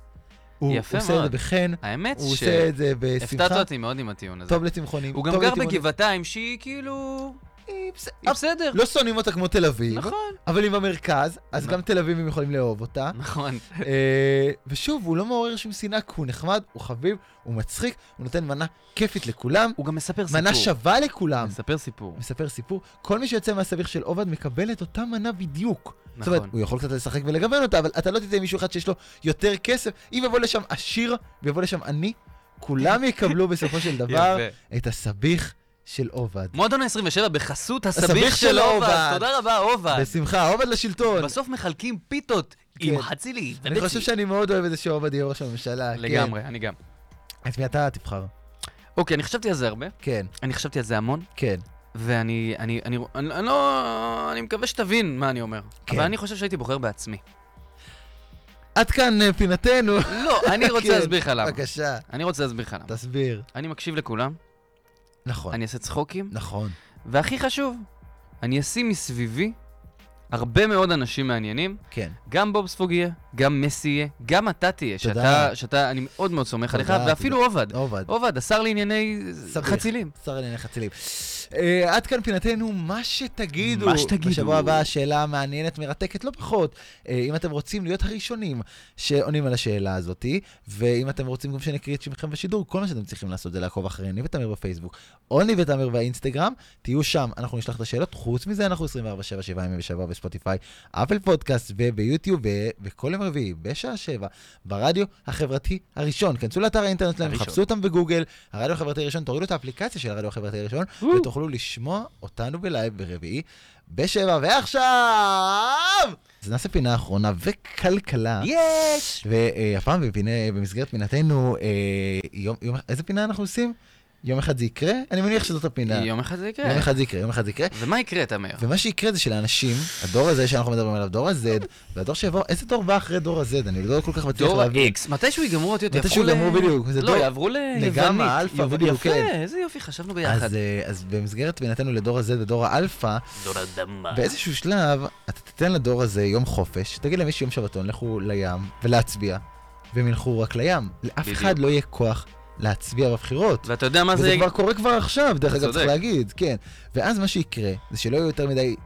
Speaker 4: הוא, הוא עושה
Speaker 3: יפה
Speaker 4: את זה
Speaker 3: מאוד.
Speaker 4: בחן,
Speaker 3: האמת
Speaker 4: הוא
Speaker 3: ש...
Speaker 4: עושה את זה בשמחה.
Speaker 3: הפתעת אותי מאוד עם הטיעון הזה.
Speaker 4: טוב לצמחונים.
Speaker 3: הוא גם
Speaker 4: טוב
Speaker 3: גר
Speaker 4: לטבעונים.
Speaker 3: בגבעתיים, שהיא כאילו...
Speaker 4: היא בסדר.
Speaker 3: היא בסדר.
Speaker 4: לא שונאים אותה כמו תל אביב,
Speaker 3: נכון.
Speaker 4: אבל היא לא. במרכז, אז
Speaker 3: נכון.
Speaker 4: גם תל אביבים יכולים לאהוב אותה.
Speaker 3: נכון.
Speaker 4: אה, ושוב, הוא לא מעורר שום שנאה, כי הוא נחמד, הוא חביב, הוא מצחיק, הוא נותן מנה כיפית לכולם,
Speaker 3: הוא גם מספר סיפור.
Speaker 4: מנה שווה לכולם.
Speaker 3: מספר סיפור.
Speaker 4: מספר סיפור, כל מי שיוצא מהסביך של עובד מקבל את אותה מנה בדיוק. זאת אומרת,
Speaker 3: נכון.
Speaker 4: הוא יכול קצת לשחק ולגוון אותה, אבל אתה לא תיתן מישהו אחד שיש לו יותר כסף. אם יבוא לשם עשיר ויבוא לשם עני, כולם יקבלו בסופו של דבר
Speaker 3: יפה.
Speaker 4: את הסביך של עובד.
Speaker 3: מועדון ה-27 בחסות הסביך
Speaker 4: הסביך
Speaker 3: של
Speaker 4: של
Speaker 3: אובס.
Speaker 4: אובס.
Speaker 3: תודה רבה, אובס.
Speaker 4: בשמחה, עובד לשלטון.
Speaker 3: בסוף מחלקים פיתות עם חצילי.
Speaker 4: כן. אני חושב שאני מאוד אוהב את זה שעובד יהיה ראש הממשלה. כן.
Speaker 3: לגמרי, אני גם.
Speaker 4: את מי אתה תבחר?
Speaker 3: אוקיי, אני חשבתי על זה הרבה.
Speaker 4: כן,
Speaker 3: אני חשבתי על זה המון.
Speaker 4: כן.
Speaker 3: ואני, אני, אני, אני, אני לא, אני מקווה שתבין מה אני אומר.
Speaker 4: כן.
Speaker 3: אבל אני חושב שהייתי בוחר בעצמי.
Speaker 4: עד כאן אה, פינתנו.
Speaker 3: לא, אני רוצה
Speaker 4: כן.
Speaker 3: להסביר לך למה.
Speaker 4: בבקשה,
Speaker 3: אני רוצה להסביר לך למה.
Speaker 4: תסביר.
Speaker 3: אני מקשיב לכולם,
Speaker 4: נכון,
Speaker 3: אני אעשה צחוקים,
Speaker 4: נכון.
Speaker 3: והכי חשוב, אני אשים מסביבי הרבה מאוד אנשים מעניינים.
Speaker 4: כן,
Speaker 3: גם בוב ספוג יהיה, גם מסי יהיה, גם אתה תהיה,
Speaker 4: תודה.
Speaker 3: שאתה, שאתה, אני מאוד מאוד סומך
Speaker 4: תודה,
Speaker 3: עליך, ואפילו עובד.
Speaker 4: עובד.
Speaker 3: עובד, השר לענייני
Speaker 4: סביך.
Speaker 3: חצילים.
Speaker 4: שר לא לענייני חצילים. אה, עד כאן פינתנו, מה שתגידו.
Speaker 3: מה שתגידו.
Speaker 4: בשבוע הבא שאלה מעניינת, מרתקת, לא פחות. אה, אם אתם רוצים להיות הראשונים שעונים על השאלה הזאתי, ואם אתם רוצים גם שנקריא את שמכם בשידור, כל מה שאתם צריכים לעשות זה לעקוב אחרי אני ותמיר בפייסבוק, או אני ותמיר באינסטגרם, תהיו שם, אנחנו נשלח את השאלות. חוץ מזה, אנחנו 24/7, 7 ימים בשבוע בספוטיפיי, אפל פודקאסט וביוטיוב, ו- וכל יום רביעי, בשעה 7, ברדיו החברתי הראשון. כנסו לאתר האינטרנט שלהם,
Speaker 3: הראשון.
Speaker 4: חפשו אותם בגוגל, הרדיו החברתי הראשון, תורידו את האפליקציה של הרדיו החברתי הראשון, ותוכלו לשמוע אותנו בלייב ברביעי בשבע, ועכשיו! אז נעשה פינה אחרונה וכלכלה.
Speaker 3: יש!
Speaker 4: והפעם בפינה, במסגרת פינתנו, אה, יום, יום, איזה פינה אנחנו עושים? יום אחד זה יקרה? אני מניח שזאת הפינה.
Speaker 3: יום כן. אחד זה יקרה.
Speaker 4: יום אחד זה יקרה, יום אחד זה יקרה.
Speaker 3: ומה יקרה, תמר?
Speaker 4: ומה שיקרה זה שלאנשים, הדור הזה שאנחנו מדברים עליו, דור ה-Z, והדור שיבוא, איזה דור בא אחרי דור ה-Z? אני לא כל כך מצליח
Speaker 3: דור
Speaker 4: להבין.
Speaker 3: ה-X, מתישהו יגמרו אותיות,
Speaker 4: מתישהו
Speaker 3: יהפכו ל-
Speaker 4: יגמרו בדיוק, זה
Speaker 3: לא,
Speaker 4: דור-
Speaker 3: יעברו ליוונית.
Speaker 4: לגמרי, אלפא,
Speaker 3: יוב-
Speaker 4: בדיוק, כן.
Speaker 3: יפה, איזה יופי, חשבנו ביחד.
Speaker 4: אז, אה, אז במסגרת פינתנו לדור ה-Z ודור האלפא,
Speaker 3: דור אדמה.
Speaker 4: באיזשהו שלב, אתה תיתן לדור הזה יום חופש, תגיד להם יש יום שבתון, לכו לים ולהצביע, והם ילכו רק לים. לאף
Speaker 3: בדיוק.
Speaker 4: אחד לא יהיה כוח להצביע בבחירות.
Speaker 3: ואתה יודע מה זה...
Speaker 4: וזה כבר קורה כבר עכשיו, דרך אגב, צריך
Speaker 3: צודק.
Speaker 4: להגיד, כן. ואז מה שיקרה, זה שלא יהיו יותר מדי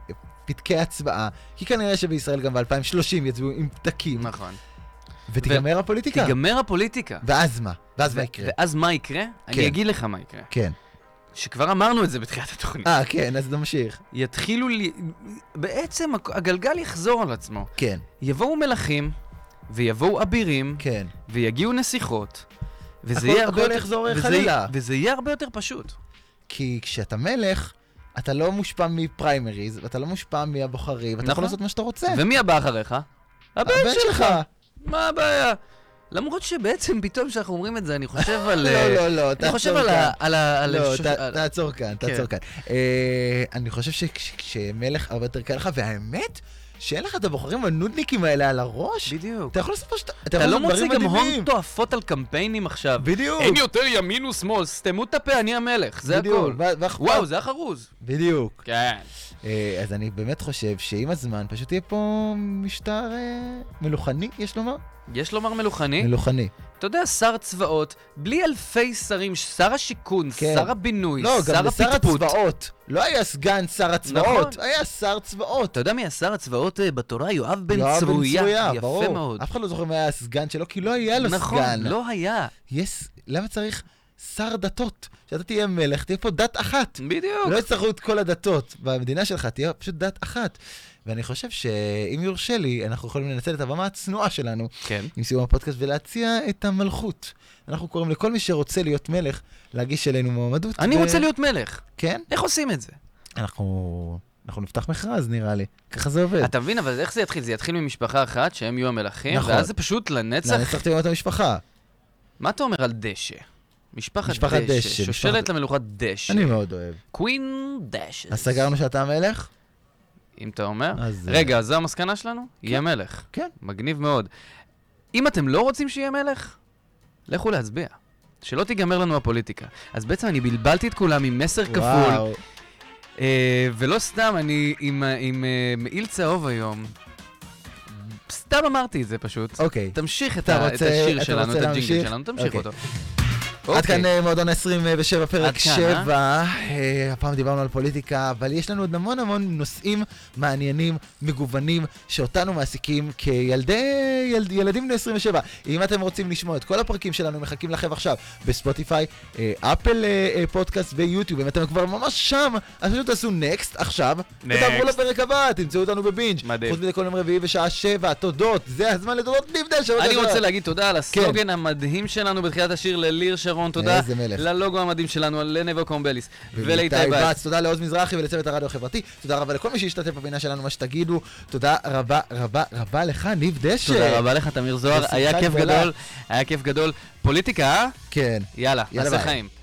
Speaker 4: פתקי הצבעה, כי כנראה שבישראל גם ב-2030 יצביעו עם פתקים.
Speaker 3: נכון.
Speaker 4: ותיגמר הפוליטיקה.
Speaker 3: תיגמר הפוליטיקה.
Speaker 4: ואז מה? ואז מה יקרה?
Speaker 3: ואז מה יקרה?
Speaker 4: כן.
Speaker 3: אני אגיד לך מה יקרה.
Speaker 4: כן.
Speaker 3: שכבר אמרנו את זה בתחילת התוכנית.
Speaker 4: אה, כן, אז נמשיך.
Speaker 3: יתחילו ל... בעצם הק- הגלגל יחזור על עצמו.
Speaker 4: כן,
Speaker 3: יבואו מלכים, ויבואו אבירים,
Speaker 4: כן.
Speaker 3: ויגיעו נסיכות, וזה
Speaker 4: הכל-
Speaker 3: יהיה הרבה
Speaker 4: הכל
Speaker 3: יותר...
Speaker 4: יחזור
Speaker 3: וזה-
Speaker 4: חלילה.
Speaker 3: וזה יהיה הרבה יותר פשוט.
Speaker 4: כי כשאתה מלך, אתה לא מושפע מפריימריז, ואתה לא מושפע מהבוחרים, ואתה יכול
Speaker 3: נכון.
Speaker 4: לעשות מה שאתה רוצה.
Speaker 3: ומי הבא אחריך? הבן
Speaker 4: כן. הבן
Speaker 3: שלך. מה הבעיה? למרות שבעצם פתאום כשאנחנו אומרים את זה, אני חושב על...
Speaker 4: לא,
Speaker 3: אה,
Speaker 4: לא, לא,
Speaker 3: אני חושב
Speaker 4: תעצור
Speaker 3: על
Speaker 4: כאן.
Speaker 3: ה... על ה... על
Speaker 4: לא,
Speaker 3: השוש-
Speaker 4: ת-
Speaker 3: על- כן.
Speaker 4: תעצור כאן, תעצור כאן. אה, אני חושב שכשמלך הרבה יותר קל לך, והאמת, שאין לך את הבוחרים הנודניקים האלה על הראש,
Speaker 3: בדיוק.
Speaker 4: אתה יכול לעשות מה שאתה...
Speaker 3: אתה
Speaker 4: יכול
Speaker 3: לא
Speaker 4: לעשות
Speaker 3: מוצא
Speaker 4: דברים
Speaker 3: גם הון
Speaker 4: מדהימים.
Speaker 3: תועפות על קמפיינים עכשיו.
Speaker 4: בדיוק.
Speaker 3: אין יותר ימין ושמאל, סתמו את הפה, אני המלך, זה
Speaker 4: בדיוק,
Speaker 3: הכל.
Speaker 4: וה- והח-
Speaker 3: וואו, זה היה חרוז.
Speaker 4: בדיוק.
Speaker 3: כן.
Speaker 4: אה, אז אני באמת חושב שעם הזמן פשוט יהיה פה משטר אה, מלוכני, יש לומר?
Speaker 3: יש לומר מלוכני?
Speaker 4: מלוכני.
Speaker 3: אתה יודע, שר צבאות, בלי אלפי שרים, שר השיכון,
Speaker 4: כן.
Speaker 3: שר הבינוי,
Speaker 4: לא, גם
Speaker 3: שר
Speaker 4: לשר
Speaker 3: הפטפוט.
Speaker 4: הצבאות. לא היה סגן שר הצבאות,
Speaker 3: נכון.
Speaker 4: היה שר צבאות.
Speaker 3: אתה יודע מי השר הצבאות אה, בתורה? יואב בן
Speaker 4: יואב
Speaker 3: צרויה.
Speaker 4: ברור.
Speaker 3: יפה מאוד.
Speaker 4: אף אחד לא זוכר מי היה הסגן שלו, כי לא היה לו
Speaker 3: נכון,
Speaker 4: סגן.
Speaker 3: לא היה.
Speaker 4: יש, למה צריך שר דתות? כשאתה תהיה מלך, תהיה פה דת אחת.
Speaker 3: בדיוק.
Speaker 4: לא יצטרכו את כל הדתות במדינה שלך, תהיה פשוט דת אחת. ואני חושב שאם יורשה לי, אנחנו יכולים לנצל את הבמה הצנועה שלנו
Speaker 3: כן.
Speaker 4: עם סיום הפודקאסט ולהציע את המלכות. אנחנו קוראים לכל מי שרוצה להיות מלך, להגיש אלינו מועמדות.
Speaker 3: אני
Speaker 4: ו-
Speaker 3: רוצה להיות מלך.
Speaker 4: כן?
Speaker 3: איך עושים את זה?
Speaker 4: אנחנו... אנחנו נפתח מכרז, נראה לי. ככה זה עובד.
Speaker 3: אתה מבין, אבל איך זה יתחיל? זה יתחיל ממשפחה אחת, שהם יהיו המלכים,
Speaker 4: נכון.
Speaker 3: ואז זה פשוט
Speaker 4: אני
Speaker 3: לנצח.
Speaker 4: צריך לראות את המשפחה.
Speaker 3: מה אתה אומר על דשא? משפחת
Speaker 4: משפחת
Speaker 3: דשא,
Speaker 4: דשא,
Speaker 3: שושלת
Speaker 4: משפחת-
Speaker 3: למלוכת דשא.
Speaker 4: אני מאוד אוהב.
Speaker 3: קווין דשא.
Speaker 4: אז סגרנו שאתה המלך?
Speaker 3: אם אתה אומר.
Speaker 4: אז, אה,
Speaker 3: רגע, אז זו המסקנה שלנו? יהיה מלך.
Speaker 4: כן.
Speaker 3: מגניב מאוד. אם אתם לא רוצים שיהיה מלך, לכו להצביע. שלא תיגמר לנו הפוליטיקה. אז בעצם אני בלבלתי את כולם עם מסר כפול,
Speaker 4: וואו.
Speaker 3: אה, ולא סתם, אני עם, אה, עם אה, מעיל צהוב היום. סתם אמרתי את זה פשוט.
Speaker 4: אוקיי.
Speaker 3: תמשיך את,
Speaker 4: אתה
Speaker 3: ה- את
Speaker 4: רוצה-
Speaker 3: השיר
Speaker 4: אתה
Speaker 3: שלנו,
Speaker 4: רוצה
Speaker 3: את הג'ינגל
Speaker 4: להמשיך?
Speaker 3: שלנו, תמשיך
Speaker 4: אוקיי.
Speaker 3: אותו.
Speaker 4: עד
Speaker 3: אוקיי.
Speaker 4: כאן אה, מועדון ה-27,
Speaker 3: עד
Speaker 4: פרק
Speaker 3: כאן,
Speaker 4: 7. אה, הפעם דיברנו על פוליטיקה, אבל יש לנו עוד המון המון נושאים מעניינים, מגוונים, שאותנו מעסיקים כילדי ילד, ילדים בני 27. אם אתם רוצים לשמוע את כל הפרקים שלנו, מחכים לכם עכשיו בספוטיפיי, אה, אפל אה, אה, פודקאסט ויוטיוב. אם אתם כבר ממש שם, אז פשוט תעשו נקסט עכשיו, ותעברו לפרק הבא, תמצאו אותנו בבינג'.
Speaker 3: מדהים.
Speaker 4: חוץ מזה כל יום רביעי בשעה 7, תודות, זה הזמן לתודות נבדל.
Speaker 3: אני רוצה להגיד תודה על הסלוגן המדהים שלנו בתחילת השיר לליר שרון, תודה.
Speaker 4: כן. איזה מלך.
Speaker 3: ללוגו המדהים שלנו, לנבו קומבליס. ולאיתי
Speaker 4: ולאיתי
Speaker 3: בץ.
Speaker 4: בץ. תודה לעוז מזרחי ולצוות הרדיו החברתי. תודה רבה לכל מי שהשתתף בפינה שלנו, מה שתגידו. תודה רבה רבה רבה לך, ניב דשא.
Speaker 3: תודה רבה לך, תמיר זוהר,
Speaker 4: בשמחה
Speaker 3: היה כיף
Speaker 4: גדולה.
Speaker 3: גדול, היה כיף גדול. פוליטיקה, אה?
Speaker 4: כן.
Speaker 3: יאללה,
Speaker 4: יאללה,
Speaker 3: נעשה
Speaker 4: ביי.
Speaker 3: חיים.